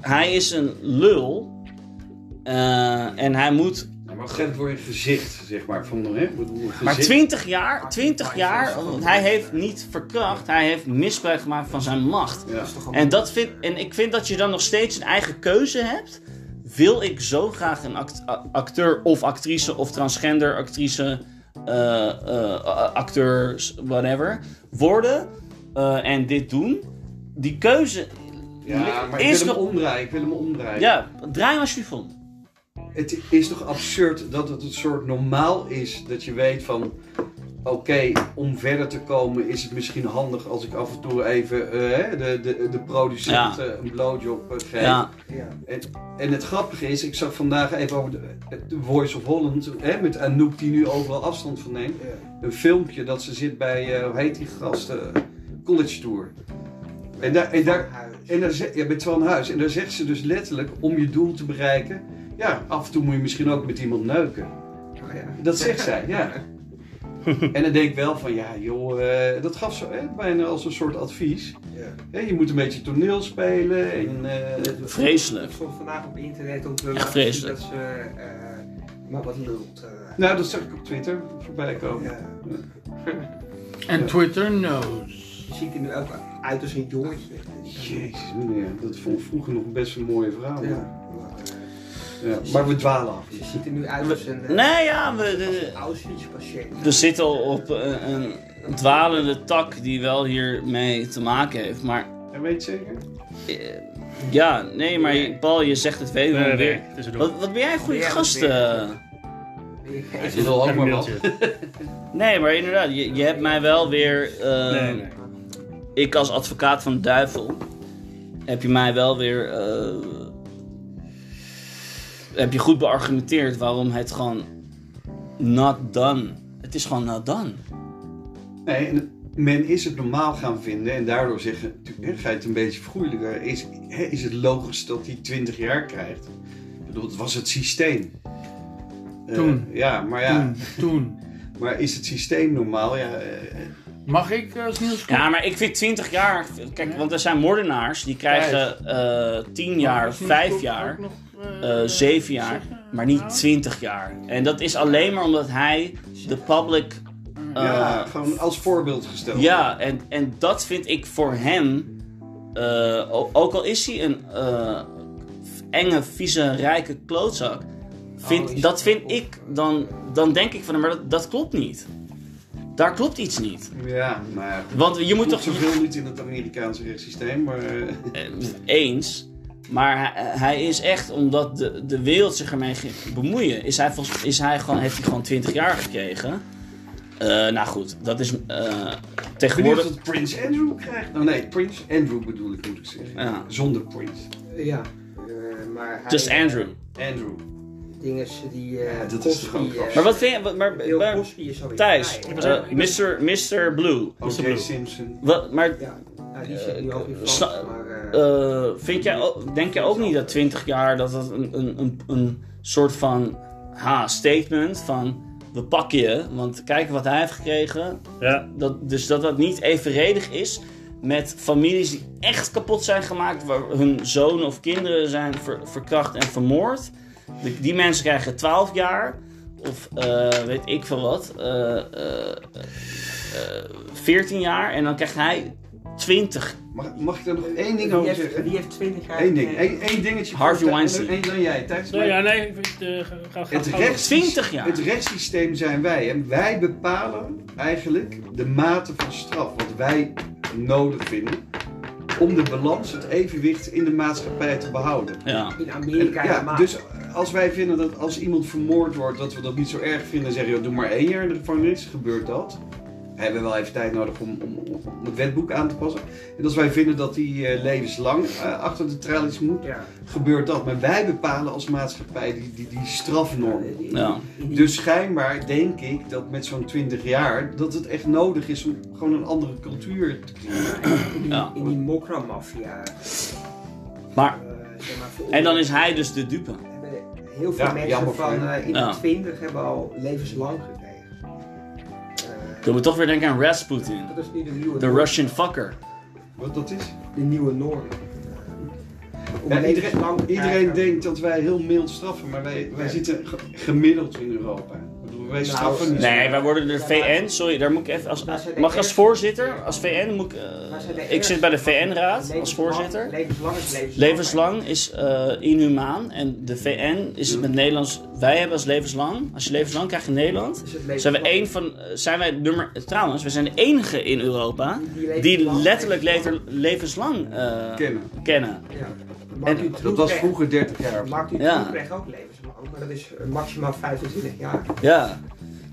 [SPEAKER 1] hij is een lul. eh, en hij moet.
[SPEAKER 5] nou, maar Gent voor je gezicht, zeg maar. Van, hè? Ik bedoel,
[SPEAKER 1] Maar
[SPEAKER 5] gezicht.
[SPEAKER 1] 20 jaar, 20 jaar, want hij heeft niet verkracht, hij heeft misbruik gemaakt van zijn macht.
[SPEAKER 5] Ja.
[SPEAKER 4] Dat is toch
[SPEAKER 1] En, dat vind, en ik vind dat je dan nog steeds een eigen keuze hebt. Wil ik zo graag een act- a- acteur of actrice of transgender actrice, eh, eh, a- acteurs, whatever, worden eh, en dit doen? Die keuze,
[SPEAKER 5] Ja, maar ik
[SPEAKER 1] Is
[SPEAKER 5] wil hem
[SPEAKER 1] nog-
[SPEAKER 5] omdraaien. Ik wil hem omdraaien.
[SPEAKER 1] ja, draai maar alsjeblieft om.
[SPEAKER 5] Het is toch absurd dat het een soort normaal is dat je weet van... Oké, om verder te komen is het misschien handig als ik af en toe even eh, de, de, de
[SPEAKER 1] Ja.
[SPEAKER 5] producent eh, een blowjob eh, geef.
[SPEAKER 1] Ja,
[SPEAKER 4] Ja.
[SPEAKER 5] En het grappige is, ik zag vandaag even over de, eh, de Voice of Holland, hè, met Anouk die nu overal afstand van neemt. Een filmpje dat ze zit bij, eh, hoe heet die gast, eh, College Tour. En daar, en daar, en daar ze- ja, met Twan Huis. En daar zegt ze dus letterlijk, om je doel te bereiken, ja, af en toe moet je misschien ook met iemand neuken.
[SPEAKER 4] Oh, ja.
[SPEAKER 5] Dat zegt zij, ja. En dan denk ik wel van, ja joh, eh, dat gaf ze hè, bijna als een soort advies.
[SPEAKER 4] Ja.
[SPEAKER 5] Hè, je moet een beetje toneel spelen en... eh,
[SPEAKER 1] vreselijk.
[SPEAKER 4] Ik stond vandaag op internet om te laten zien
[SPEAKER 1] vreselijk.
[SPEAKER 4] dat ze eh, maar wat lult. eh.
[SPEAKER 5] nou, dat zag ik op Twitter voorbij komen.
[SPEAKER 4] ja.
[SPEAKER 3] En Twitter knows.
[SPEAKER 4] Je ziet er nu ook uit als een jongetje.
[SPEAKER 5] Jezus meneer, dat vond ik vroeger nog best een mooie vrouw.
[SPEAKER 4] Ja.
[SPEAKER 5] Ja.
[SPEAKER 4] Maar, eh,
[SPEAKER 5] Maar we dwalen af.
[SPEAKER 4] Ze ziet er nu uit als een
[SPEAKER 1] Nee,
[SPEAKER 4] eh,
[SPEAKER 1] Dus- ja, we, de-
[SPEAKER 4] Auschwitz-patiënt.
[SPEAKER 1] we zitten al op een, een dwalende tak die wel hiermee te maken heeft. Maar
[SPEAKER 5] En weet je zeker?
[SPEAKER 1] ja, nee, maar je- Paul, je zegt het wederom
[SPEAKER 2] Nee, nee,
[SPEAKER 1] weer.
[SPEAKER 2] nee, Eh, tussendoor.
[SPEAKER 1] eh, Wat, wat ben jij een goede
[SPEAKER 4] Ja,
[SPEAKER 1] gast?
[SPEAKER 4] weer.
[SPEAKER 1] eh?
[SPEAKER 5] Ik wil ook
[SPEAKER 2] Even
[SPEAKER 5] maar
[SPEAKER 2] een
[SPEAKER 5] wat.
[SPEAKER 2] mailtje.
[SPEAKER 1] Nee, maar inderdaad, je, je hebt mij wel weer. eh,
[SPEAKER 2] Nee, nee.
[SPEAKER 1] Ik als advocaat van de duivel. Heb je mij wel weer. eh, heb je goed beargumenteerd waarom het gewoon. Not done. Het is gewoon not done.
[SPEAKER 5] Nee, en men is het normaal gaan vinden en daardoor zeggen, tu- hè, ga je het een beetje vergoeilijker. Is, hè, is het logisch dat hij 20 jaar krijgt? Ik bedoel, het was het systeem. Eh,
[SPEAKER 3] Toen.
[SPEAKER 5] ja, maar ja,
[SPEAKER 3] Toen, toen.
[SPEAKER 5] maar is het systeem normaal? Ja, eh,
[SPEAKER 3] Mag ik als Niels
[SPEAKER 1] Ja, maar ik vind 20 jaar. Kijk, want er zijn moordenaars die krijgen eh 10 jaar, 5 jaar. eh, zeven jaar, maar niet 20 jaar. En dat is alleen maar omdat hij de public. eh,
[SPEAKER 5] ja, gewoon als voorbeeld gesteld.
[SPEAKER 1] Ja, en, en dat vind ik voor hem. eh, o- ook al is hij een eh, enge, vieze, rijke klootzak. Vind,
[SPEAKER 4] Oh, is
[SPEAKER 1] dat
[SPEAKER 4] het
[SPEAKER 1] vind
[SPEAKER 4] op-
[SPEAKER 1] ik, dan, dan denk ik van hem, maar dat, dat klopt niet. Daar klopt iets niet.
[SPEAKER 5] Ja, maar ja,
[SPEAKER 1] Want je moet
[SPEAKER 5] toch
[SPEAKER 1] toch
[SPEAKER 5] zoveel niet in het Amerikaanse rechtssysteem, maar... eh,
[SPEAKER 1] eh, eens. Maar hij, hij is echt, omdat de, de wereld zich ermee ging bemoeien, is hij, volgens- is hij gewoon, heeft hij gewoon 20 jaar gekregen. Eh, nou goed, dat is eh,
[SPEAKER 5] Benieuwd
[SPEAKER 1] tegenwoordig.
[SPEAKER 5] dat Prins Andrew krijgt. Oh nee, Prins Andrew bedoel ik, moet ik zeggen.
[SPEAKER 1] Ja.
[SPEAKER 5] Zonder Prins.
[SPEAKER 4] Ja. Eh, maar hij,
[SPEAKER 1] Just Andrew.
[SPEAKER 5] Andrew.
[SPEAKER 4] Dingen die. eh,
[SPEAKER 5] Ja, dat is toch ook
[SPEAKER 4] Cosby, eh,
[SPEAKER 5] grappig.
[SPEAKER 1] Maar wat vind je. wat- Maar,
[SPEAKER 4] Bill
[SPEAKER 1] maar-
[SPEAKER 4] Cosby is alweer
[SPEAKER 1] Thijs,
[SPEAKER 4] vrij, hè?
[SPEAKER 1] eh, Mr. Mr. Blue.
[SPEAKER 5] O.J. Simpson.
[SPEAKER 1] Wat, maar
[SPEAKER 4] Ja, nou, die zit nu ook in
[SPEAKER 1] eh,
[SPEAKER 4] Frans,
[SPEAKER 1] sna-
[SPEAKER 4] maar... eh,
[SPEAKER 1] eh, vind jij, ook- denk jij ook niet dat 20 jaar dat dat een, een, een, een soort van ha, statement van we pakken je, want kijk wat hij heeft gekregen.
[SPEAKER 2] Ja,
[SPEAKER 1] Dat, dus dat dat niet evenredig is met families die echt kapot zijn gemaakt, waar hun zonen of kinderen zijn ver- verkracht en vermoord. Die, die mensen krijgen 12 jaar of eh, weet ik veel wat, eh, eh, eh, 14 jaar en dan krijgt hij 20.
[SPEAKER 5] Mag, mag ik eh, Oh, daar nog
[SPEAKER 3] Eh,
[SPEAKER 5] één ding
[SPEAKER 4] wie,
[SPEAKER 5] over
[SPEAKER 4] heeft,
[SPEAKER 5] zeggen?
[SPEAKER 4] wie heeft 20
[SPEAKER 1] Eh,
[SPEAKER 4] jaar... eh,
[SPEAKER 5] Eén ding.
[SPEAKER 4] gekregen?
[SPEAKER 5] Eén, één dingetje.
[SPEAKER 1] Harvey
[SPEAKER 5] voor-
[SPEAKER 1] Weinstein.
[SPEAKER 5] Eén dan jij, Thijs.
[SPEAKER 2] nee, Nou ja, nee. ik- ik, eh, ga- ga- ga-
[SPEAKER 5] Het
[SPEAKER 2] ga-
[SPEAKER 5] rechts-
[SPEAKER 1] 20 jaar.
[SPEAKER 5] Het rechtssysteem zijn wij. En wij bepalen eigenlijk de mate van straf. Wat wij nodig vinden. om de balans, het evenwicht in de maatschappij te behouden.
[SPEAKER 1] Ja.
[SPEAKER 4] In
[SPEAKER 5] En,
[SPEAKER 4] Amerika
[SPEAKER 5] ja,
[SPEAKER 4] helemaal.
[SPEAKER 5] dus als wij vinden dat als iemand vermoord wordt, dat we dat niet zo erg vinden en zeggen, joh, doe maar één jaar in de gevangenis, gebeurt dat. We hebben wel even tijd nodig om, om, om het wetboek aan te passen. En als wij vinden dat die eh, levenslang eh, achter de tralies moet,
[SPEAKER 4] ja.
[SPEAKER 5] gebeurt dat. Maar wij bepalen als maatschappij die, die, die strafnorm.
[SPEAKER 1] Ja.
[SPEAKER 5] Dus schijnbaar denk ik dat met zo'n 20 jaar dat het echt nodig is om gewoon een andere cultuur te creëren.
[SPEAKER 4] In die,
[SPEAKER 1] Ja.
[SPEAKER 4] in die mokra-maffia.
[SPEAKER 1] Maar,
[SPEAKER 4] eh, zeg maar, voor-
[SPEAKER 1] en dan is hij dus de dupe.
[SPEAKER 4] Heel veel
[SPEAKER 5] Ja,
[SPEAKER 4] mensen
[SPEAKER 5] jammer voor
[SPEAKER 4] van
[SPEAKER 5] hem.
[SPEAKER 4] eh, in
[SPEAKER 1] Ja.
[SPEAKER 4] de 20 hebben al levenslang gekregen. Eh,
[SPEAKER 1] Doe me toch weer denken aan Rasputin.
[SPEAKER 4] dat is nu de nieuwe
[SPEAKER 1] De
[SPEAKER 4] norm.
[SPEAKER 1] Russian fucker.
[SPEAKER 5] Wat dat is?
[SPEAKER 4] De nieuwe norm. Eh, Om
[SPEAKER 5] Ja, iedereen
[SPEAKER 4] levenslang te
[SPEAKER 5] iedereen
[SPEAKER 4] krijgen.
[SPEAKER 5] denkt dat wij heel mild straffen, maar wij, wij
[SPEAKER 4] Ja.
[SPEAKER 5] zitten ge- gemiddeld in Europa. Ik bedoel, wij straffen niet. zo.
[SPEAKER 1] Nee, wij worden de VN, sorry, daar moet ik even als, mag ik als voorzitter, als VN moet ik, eh,
[SPEAKER 4] Maar ze hebben
[SPEAKER 1] ik zit bij de VN-raad als
[SPEAKER 4] Levenslang-
[SPEAKER 1] voorzitter.
[SPEAKER 4] Levenslang is levenslang.
[SPEAKER 1] Levenslang is eh, inhumaan en de VN is het met Nederlands. Wij hebben als levenslang, als je levenslang krijgt in Nederland,
[SPEAKER 4] Is het levenslang.
[SPEAKER 1] zijn we één van, eh, zijn wij nummer, trouwens, we zijn de enige in Europa
[SPEAKER 4] Die
[SPEAKER 1] die
[SPEAKER 4] levenslang-
[SPEAKER 1] letterlijk leter- levenslang eh,
[SPEAKER 5] kennen.
[SPEAKER 1] kennen.
[SPEAKER 4] Ja.
[SPEAKER 1] En
[SPEAKER 4] Mark
[SPEAKER 1] dat
[SPEAKER 4] Utrecht-
[SPEAKER 5] Dat was vroeger 30 jaar.
[SPEAKER 4] Mark
[SPEAKER 1] Ja.
[SPEAKER 4] Utrecht kreeg ook levenslang, maar dat is eh, maximaal 25 jaar.
[SPEAKER 1] Ja.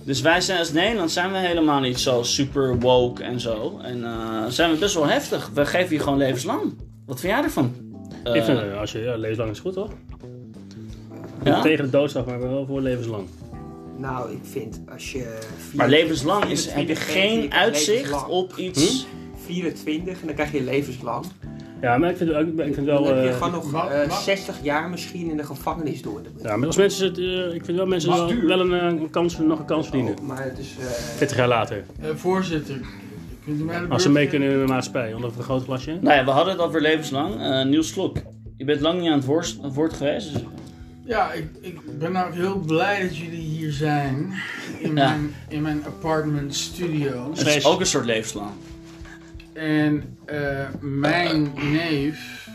[SPEAKER 1] Dus wij zijn als Nederland zijn we helemaal niet zo super woke en zo. En eh, zijn we best wel heftig. We geven je gewoon levenslang. Wat vind jij ervan? Eh,
[SPEAKER 2] ik vind, eh, als je ja, levenslang is goed, toch?
[SPEAKER 1] ja?
[SPEAKER 2] Tegen de doodstraf, maar wel voor levenslang.
[SPEAKER 4] Nou, ik vind als je... vier-
[SPEAKER 1] Maar levenslang
[SPEAKER 4] vier-
[SPEAKER 1] is, heb je
[SPEAKER 4] vier- vier-
[SPEAKER 1] geen uitzicht
[SPEAKER 4] levenslang.
[SPEAKER 1] op
[SPEAKER 2] Hm?
[SPEAKER 1] iets.
[SPEAKER 4] 24 en dan krijg je levenslang.
[SPEAKER 2] Ja, maar ik vind, ik, ik vind
[SPEAKER 4] Dan
[SPEAKER 2] wel...
[SPEAKER 4] heb je
[SPEAKER 2] eh,
[SPEAKER 4] gewoon nog
[SPEAKER 3] mag-
[SPEAKER 4] eh,
[SPEAKER 3] mag-
[SPEAKER 4] 60 jaar misschien in de gevangenis door te brengen.
[SPEAKER 2] ja, maar als mensen... Het, eh, ik vind wel mensen
[SPEAKER 3] Was
[SPEAKER 2] wel,
[SPEAKER 3] duur.
[SPEAKER 2] wel een, eh, een kans, nog een kans verdienen.
[SPEAKER 4] Oh, maar het is... eh,
[SPEAKER 2] 40 jaar later.
[SPEAKER 3] Eh, voorzitter, kunt u mij de
[SPEAKER 2] Als ze
[SPEAKER 3] beurt
[SPEAKER 2] mee
[SPEAKER 3] geven?
[SPEAKER 2] kunnen in de maatschappij, onder een groot glasje.
[SPEAKER 1] Nou ja, we hadden het alweer levenslang. Eh Niels Slok, je bent lang niet aan het woord, woord geweest. dus-
[SPEAKER 3] Ja, ik, ik ben nou ook heel blij dat jullie hier zijn. In,
[SPEAKER 1] Ja.
[SPEAKER 3] mijn, in mijn apartment studio.
[SPEAKER 1] Het is
[SPEAKER 2] Vlees.
[SPEAKER 1] ook een soort levenslang.
[SPEAKER 3] En eh, mijn neef,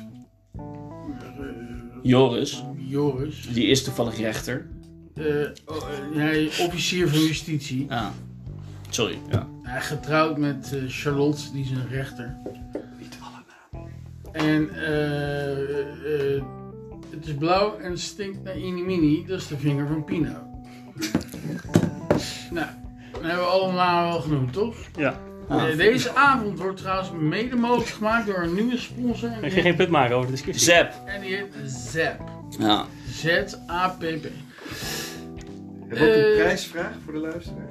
[SPEAKER 1] Joris,
[SPEAKER 3] Joris,
[SPEAKER 1] die is toevallig rechter.
[SPEAKER 3] eh, oh, eh, hij is officier van justitie.
[SPEAKER 1] Ja. Sorry. Ja.
[SPEAKER 3] Hij is getrouwd met eh, Charlotte, die is een rechter. Niet alle namen. En eh, eh, het is blauw en stinkt naar inimini, dat is de vinger van Pino. nou, dan hebben we allemaal wel genoemd, toch?
[SPEAKER 2] Ja.
[SPEAKER 1] Ah.
[SPEAKER 3] Eh, Deze avond wordt trouwens mede mogelijk gemaakt door een nieuwe sponsor. En
[SPEAKER 2] Ik
[SPEAKER 3] die,
[SPEAKER 2] ging geen punt maken over de discussie.
[SPEAKER 1] Zep.
[SPEAKER 3] en die heet ZAP.
[SPEAKER 1] Ja.
[SPEAKER 3] Z-A-P-P.
[SPEAKER 5] Hebben we ook een
[SPEAKER 3] Eh.
[SPEAKER 5] prijsvraag voor de luisteraar?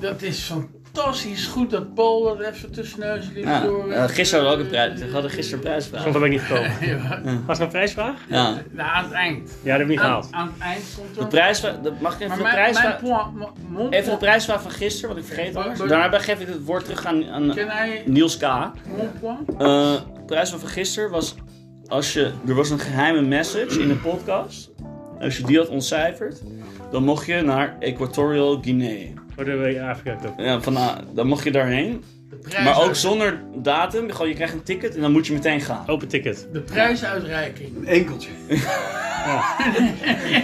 [SPEAKER 3] Dat is fantastisch goed dat Paul dat even tussen neus ligt
[SPEAKER 1] Ja.
[SPEAKER 3] door...
[SPEAKER 1] Eh, gisteren hadden we ook een prijs. We hadden gisteren een prijsvraag.
[SPEAKER 2] Soms ben ik niet gekomen.
[SPEAKER 3] Ja,
[SPEAKER 2] Was er een prijsvraag?
[SPEAKER 1] Ja.
[SPEAKER 3] nou, aan het eind.
[SPEAKER 2] Ja, dat heb ik niet gehaald.
[SPEAKER 3] Aan, aan het eind komt er...
[SPEAKER 1] De prijsvraag. de- Mag ik even
[SPEAKER 3] Maar
[SPEAKER 1] de
[SPEAKER 3] mijn, mijn
[SPEAKER 1] prijsvraag.
[SPEAKER 3] point... mijn- mijn
[SPEAKER 1] Even de
[SPEAKER 3] point-
[SPEAKER 1] prijsvraag van gisteren, wat ik vergeten was.
[SPEAKER 3] Maar-
[SPEAKER 1] Daarna geef ik het woord terug aan, aan
[SPEAKER 3] Ken hij
[SPEAKER 1] Niels K.
[SPEAKER 3] mon point?
[SPEAKER 1] Eh, de prijsvraag van gisteren was... Als je, er was een geheime message in de podcast. Als je die had ontcijferd, dan mocht je naar Equatorial Guinea.
[SPEAKER 2] Voor de eh, Afrika Cup.
[SPEAKER 1] Ja, van, ah, dan mocht je daarheen.
[SPEAKER 3] De prijs
[SPEAKER 1] Maar ook zonder datum. Gewoon, je krijgt een ticket en dan moet je meteen gaan.
[SPEAKER 2] Open ticket.
[SPEAKER 3] De prijsuitreiking.
[SPEAKER 5] Een enkeltje.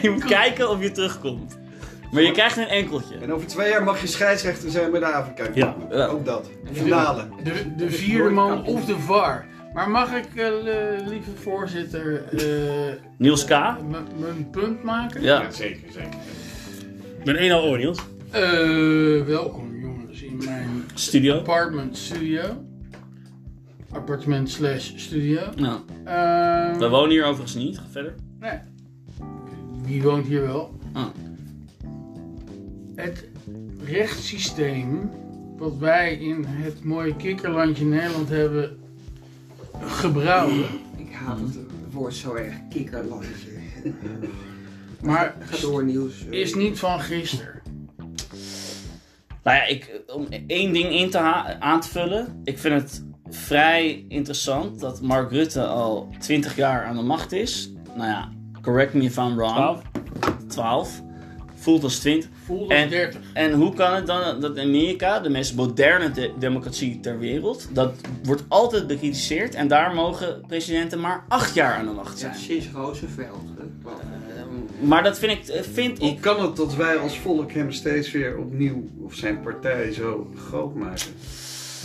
[SPEAKER 1] Je moet kijken of je terugkomt. Maar je krijgt een enkeltje.
[SPEAKER 5] En over twee jaar mag je scheidsrechter zijn bij de Afrika. Cup.
[SPEAKER 2] Ja.
[SPEAKER 1] Ja.
[SPEAKER 5] Ook dat. Finale.
[SPEAKER 3] De, de vierde man of de VAR. Maar mag ik, eh, le- lieve voorzitter, eh,
[SPEAKER 1] Niels K.
[SPEAKER 3] m- mijn punt maken?
[SPEAKER 1] Ja.
[SPEAKER 5] zeker, zeker.
[SPEAKER 2] Ik ben één al oor, Niels.
[SPEAKER 3] Eh, welkom jongens in mijn
[SPEAKER 1] Studio.
[SPEAKER 3] apartment studio. Appartement slash studio.
[SPEAKER 1] Nou,
[SPEAKER 3] Ehm,
[SPEAKER 1] we wonen hier overigens niet. Ga verder.
[SPEAKER 3] Nee. Wie woont hier wel?
[SPEAKER 1] Ah.
[SPEAKER 3] Het rechtssysteem wat wij in het mooie kikkerlandje Nederland hebben gebrouwen.
[SPEAKER 4] Ik haat het woord zo erg, kikkerlandje.
[SPEAKER 3] Maar
[SPEAKER 4] Ga door nieuws. eh.
[SPEAKER 3] is niet van gisteren.
[SPEAKER 1] Nou ja, ik, om één ding in te ha- aan te vullen. Ik vind het vrij interessant dat Mark Rutte al 20 jaar aan de macht is. Nou ja, correct me if I'm wrong.
[SPEAKER 2] 12.
[SPEAKER 1] 12. Voelt als 20.
[SPEAKER 3] Voel dat
[SPEAKER 1] En-
[SPEAKER 3] 30.
[SPEAKER 1] En hoe kan het dan dat in Amerika, de meest moderne de- democratie ter wereld, dat wordt altijd bekritiseerd en daar mogen presidenten maar 8 jaar aan de macht
[SPEAKER 4] Ja,
[SPEAKER 1] zijn.
[SPEAKER 4] sinds Roosevelt. hè.
[SPEAKER 1] Maar dat vind ik, eh, vind
[SPEAKER 5] Hoe
[SPEAKER 1] ik
[SPEAKER 5] kan het dat wij als volk hem steeds weer opnieuw of zijn partij zo groot maken?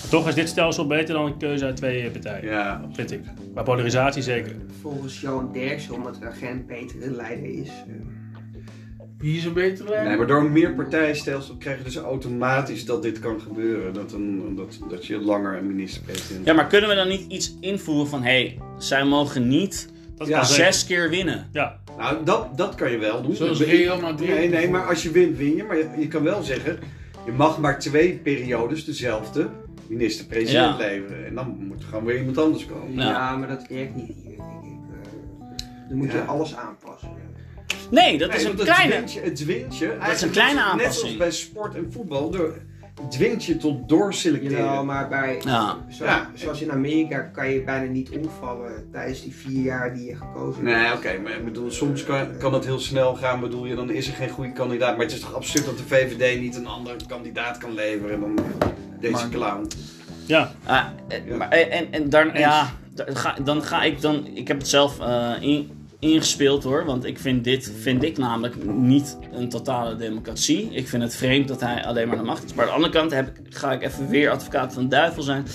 [SPEAKER 2] Toch is dit stelsel beter dan een keuze uit twee eh, partijen.
[SPEAKER 5] Ja.
[SPEAKER 2] Vind ik. Qua polarisatie zeker.
[SPEAKER 4] Volgens Johan Derksen, omdat de agent betere leider is. eh,
[SPEAKER 3] Wie is een betere leider?
[SPEAKER 5] Nee, maar door een meerpartijstelsel krijg je dus automatisch dat dit kan gebeuren. Dat, een, dat, dat je langer een minister-president...
[SPEAKER 1] Ja, maar kunnen we dan niet iets invoeren van... hé, zij mogen niet
[SPEAKER 2] Dat
[SPEAKER 5] Ja,
[SPEAKER 2] kan zeker.
[SPEAKER 1] zes keer winnen?
[SPEAKER 2] Ja,
[SPEAKER 5] Nou, dat, dat kan je wel doen.
[SPEAKER 3] Zoals
[SPEAKER 5] Dat-
[SPEAKER 3] Real Madrid.
[SPEAKER 5] Nee, nee, maar als je wint, win je. Maar je, je kan wel zeggen, je mag maar twee periodes dezelfde
[SPEAKER 1] Ja.
[SPEAKER 5] minister-president leveren. En dan moet er gewoon weer iemand anders komen.
[SPEAKER 1] Ja.
[SPEAKER 4] Ja, maar dat werkt niet hier, denk ik. Eh, dan moet je
[SPEAKER 5] Ja.
[SPEAKER 4] alles aanpassen.
[SPEAKER 1] Nee, dat is
[SPEAKER 5] Nee,
[SPEAKER 1] een
[SPEAKER 5] want het
[SPEAKER 1] kleine...
[SPEAKER 5] dwingt je- het dwingt je. eigenlijk
[SPEAKER 1] een kleine
[SPEAKER 5] net-
[SPEAKER 1] aanpassing.
[SPEAKER 5] Net als bij sport en voetbal. Door, het dwingt je tot doorselecteren.
[SPEAKER 4] Jawel, maar bij,
[SPEAKER 1] Ja.
[SPEAKER 4] zoals,
[SPEAKER 5] Ja.
[SPEAKER 4] zoals in Amerika kan je bijna niet omvallen tijdens die vier jaar die je gekozen
[SPEAKER 5] Nee,
[SPEAKER 4] hebt.
[SPEAKER 5] oké, maar ik bedoel, soms kan, kan dat heel snel gaan. Bedoel je, dan is er geen goede kandidaat. Maar het is toch absurd dat de VVD niet een andere kandidaat kan leveren dan deze
[SPEAKER 1] Maar-
[SPEAKER 5] clown.
[SPEAKER 2] ja.
[SPEAKER 1] Ah, eh, maar, eh, en, en daar, ja, daar ga, dan ga ik dan. Ik heb het zelf eh, in, ingespeeld hoor. Want ik vind dit vind ik namelijk niet een totale democratie. Ik vind het vreemd dat hij alleen maar de macht is. Maar aan de andere kant heb, ik- ga ik even weer advocaat van de duivel zijn.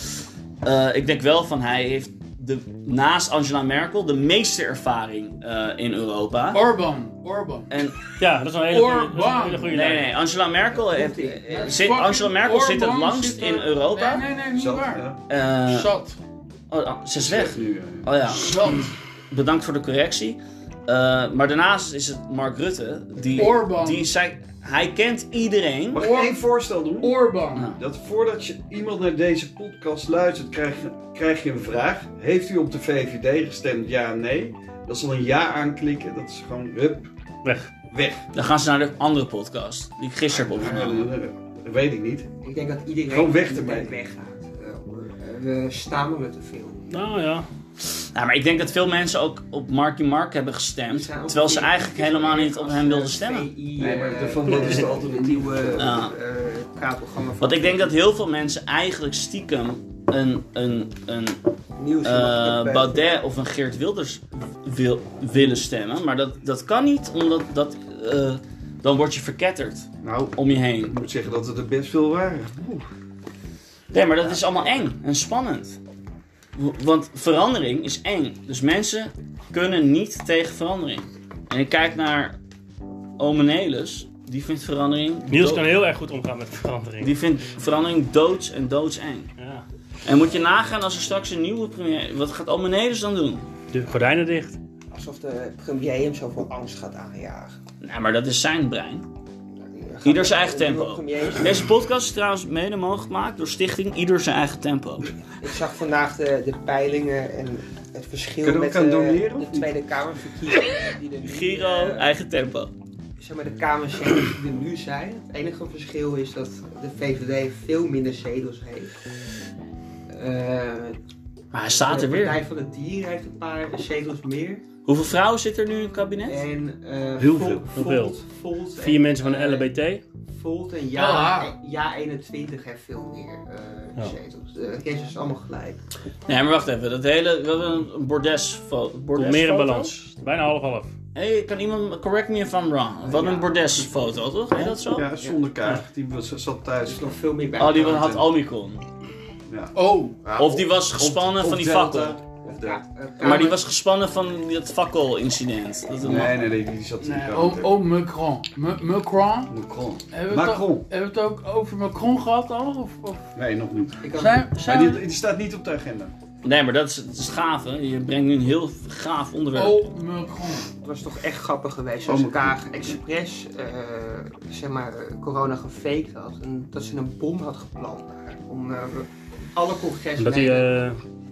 [SPEAKER 1] Eh, ik denk wel van hij heeft de, naast Angela Merkel de meeste ervaring eh, in Europa.
[SPEAKER 3] Orban. Orban.
[SPEAKER 1] En
[SPEAKER 2] ja, dat is een hele goede, dat is een
[SPEAKER 3] Orban.
[SPEAKER 2] hele goede
[SPEAKER 1] nee,
[SPEAKER 2] lijn.
[SPEAKER 1] nee, Angela Merkel, heeft, eh, zit, Angela Merkel zit het
[SPEAKER 3] Orban
[SPEAKER 1] langst
[SPEAKER 3] zit er-
[SPEAKER 1] in Europa.
[SPEAKER 3] Nee, nee, nee, niet
[SPEAKER 5] Zo,
[SPEAKER 3] waar.
[SPEAKER 5] ja.
[SPEAKER 1] Eh,
[SPEAKER 3] Zat.
[SPEAKER 1] oh, oh, ze is weg.
[SPEAKER 5] Nu, eh,
[SPEAKER 1] Oh ja.
[SPEAKER 3] Zat.
[SPEAKER 1] bedankt voor de correctie. Eh, maar daarnaast is het Mark Rutte. Die,
[SPEAKER 3] Orban.
[SPEAKER 1] Die, zij, hij kent iedereen.
[SPEAKER 5] Mag ik
[SPEAKER 3] Oor-
[SPEAKER 5] één voorstel doen?
[SPEAKER 3] Orban.
[SPEAKER 5] Dat voordat je iemand naar deze podcast luistert, krijg je, krijg je een vraag. Heeft u op de VVD gestemd? Ja, nee. Dat is dan een ja aanklikken. Dat is gewoon hup,
[SPEAKER 2] Weg.
[SPEAKER 5] weg.
[SPEAKER 1] Dan gaan ze naar de andere podcast. Die ik gisteren heb opgenomen.
[SPEAKER 5] eh, Dat weet ik niet.
[SPEAKER 4] Ik denk dat iedereen
[SPEAKER 5] Gewoon weg
[SPEAKER 4] die
[SPEAKER 5] ermee.
[SPEAKER 4] tijd weggaat. Eh, we stamelen te veel.
[SPEAKER 2] Nou ja.
[SPEAKER 1] Nou, maar ik denk dat veel mensen ook op Marky Mark hebben gestemd.
[SPEAKER 4] Zijn ook
[SPEAKER 1] Terwijl ze
[SPEAKER 4] die-
[SPEAKER 1] eigenlijk
[SPEAKER 4] die
[SPEAKER 1] helemaal
[SPEAKER 4] zijn
[SPEAKER 1] niet op
[SPEAKER 4] als,
[SPEAKER 1] hem
[SPEAKER 4] eh,
[SPEAKER 1] wilden stemmen.
[SPEAKER 4] VI,
[SPEAKER 5] Nee, maar
[SPEAKER 4] eh,
[SPEAKER 5] daarvan dat is de alternatief.
[SPEAKER 4] nieuwe eh
[SPEAKER 1] Ja.
[SPEAKER 4] praatprogramma van
[SPEAKER 1] Want ik denk dat heel veel mensen eigenlijk stiekem een, een, een
[SPEAKER 4] nieuws
[SPEAKER 1] eh, Baudet of een Geert Wilders wil, willen stemmen. Maar dat, dat kan niet, omdat dat, eh, dan word je verketterd
[SPEAKER 5] Nou,
[SPEAKER 1] om je heen.
[SPEAKER 5] ik moet zeggen dat het er best veel waren. Oeh.
[SPEAKER 1] Nee, maar dat is allemaal eng en spannend. W- Want verandering is eng. Dus mensen kunnen niet tegen verandering. En ik kijk naar Ome Nelis. Die vindt verandering...
[SPEAKER 2] Niels
[SPEAKER 1] dood-
[SPEAKER 2] kan heel erg goed omgaan met verandering.
[SPEAKER 1] Die vindt verandering doods en doodseng.
[SPEAKER 2] Ja.
[SPEAKER 1] En moet je nagaan als er straks een nieuwe premier... Wat gaat Ome Nelis dan doen?
[SPEAKER 2] De gordijnen dicht.
[SPEAKER 4] Alsof de premier hem zoveel angst gaat aanjagen.
[SPEAKER 1] Nou, maar dat is zijn brein. Ieder zijn eigen
[SPEAKER 4] De nieuwe
[SPEAKER 1] tempo.
[SPEAKER 4] premier-
[SPEAKER 1] Deze podcast is trouwens mede mogelijk gemaakt door stichting Ieder Zijn Eigen Tempo.
[SPEAKER 4] Ik zag vandaag de, de peilingen en het verschil
[SPEAKER 5] Kunnen we
[SPEAKER 4] met
[SPEAKER 5] elkaar
[SPEAKER 4] de,
[SPEAKER 5] doneren, of
[SPEAKER 4] de
[SPEAKER 5] niet?
[SPEAKER 4] Tweede Kamerverkiezingen. die er nu,
[SPEAKER 1] Giro,
[SPEAKER 4] eh,
[SPEAKER 1] eigen tempo.
[SPEAKER 4] zeg maar de Kamerzetels die er nu zijn. Het enige verschil is dat de VVD veel minder zetels heeft. Eh,
[SPEAKER 1] Maar hij staat
[SPEAKER 4] de
[SPEAKER 1] er weer.
[SPEAKER 4] Partij van het Dier heeft een paar zetels meer.
[SPEAKER 1] Hoeveel vrouwen zitten er nu in het kabinet?
[SPEAKER 4] En, eh,
[SPEAKER 5] Heel
[SPEAKER 4] Volt-
[SPEAKER 5] veel.
[SPEAKER 2] Heel veel.
[SPEAKER 4] Volt- Volt
[SPEAKER 2] Vier
[SPEAKER 4] en,
[SPEAKER 2] mensen van de
[SPEAKER 4] eh,
[SPEAKER 2] LBT.
[SPEAKER 4] Volt en
[SPEAKER 3] Ah.
[SPEAKER 4] ja, ja 21 eh, heeft veel meer eh,
[SPEAKER 2] Ja.
[SPEAKER 4] zetels. De rest is allemaal gelijk.
[SPEAKER 1] Nee, maar wacht even. Dat hele, we hebben een bordes
[SPEAKER 2] Komt
[SPEAKER 1] bordes
[SPEAKER 2] meer in balans. Bijna half-half.
[SPEAKER 1] Hey, kan iemand, correct me if I'm wrong. Wat
[SPEAKER 4] Ja.
[SPEAKER 1] een bordesfoto, toch? Heet dat zo?
[SPEAKER 5] Ja, zonder kaart. Die was, zat
[SPEAKER 4] Er
[SPEAKER 5] thuis.
[SPEAKER 4] is nog veel meer bij.
[SPEAKER 1] Oh, die
[SPEAKER 4] elkaar.
[SPEAKER 1] had Omicron.
[SPEAKER 3] Oh.
[SPEAKER 1] Of die was gespannen
[SPEAKER 5] Of-
[SPEAKER 1] van die
[SPEAKER 5] of Delta.
[SPEAKER 1] fakkel.
[SPEAKER 5] Of Delta.
[SPEAKER 4] Ja, eh,
[SPEAKER 1] Maar die was gespannen van dat fakkel-incident. Dat-
[SPEAKER 5] Nee, nee, nee, die zat in de
[SPEAKER 3] Nee,
[SPEAKER 5] kamer.
[SPEAKER 3] oh, oh, Macron. M- Macron.
[SPEAKER 5] Macron.
[SPEAKER 3] Hebben we, het
[SPEAKER 5] Macron.
[SPEAKER 3] Al, hebben we het ook over Macron gehad al? Of, of
[SPEAKER 5] Nee, nog niet.
[SPEAKER 4] ik had-
[SPEAKER 3] zijn,
[SPEAKER 5] Maar
[SPEAKER 3] zijn
[SPEAKER 5] die,
[SPEAKER 3] we-
[SPEAKER 5] die staat niet op de agenda.
[SPEAKER 1] Nee, maar dat is, dat is gaaf, hè? Je brengt nu een heel gaaf onderwerp.
[SPEAKER 3] Oh, Macron.
[SPEAKER 4] Het was toch echt grappig geweest als
[SPEAKER 5] Oh,
[SPEAKER 4] elkaar expres eh, zeg maar, eh, corona gefaked had. En dat ze een bom had gepland daar. Om eh, alle
[SPEAKER 2] En dat die,
[SPEAKER 4] congresleden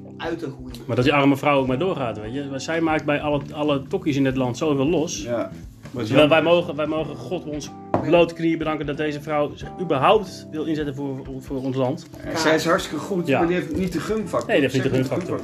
[SPEAKER 2] eh,
[SPEAKER 4] uit te roeien.
[SPEAKER 2] maar dat die arme vrouw ook maar doorgaat, weet je. Zij maakt bij alle, alle tokkies in dit land zoveel los.
[SPEAKER 5] Ja. Maar
[SPEAKER 2] Terwijl Wij, mogen, wij mogen God ons blote knieën bedanken dat deze vrouw zich überhaupt wil inzetten voor, voor ons land.
[SPEAKER 5] Zij is hartstikke goed,
[SPEAKER 2] Ja.
[SPEAKER 5] maar die heeft niet de gunfactor.
[SPEAKER 2] Nee, die heeft niet de
[SPEAKER 5] Zij
[SPEAKER 2] gunfactor.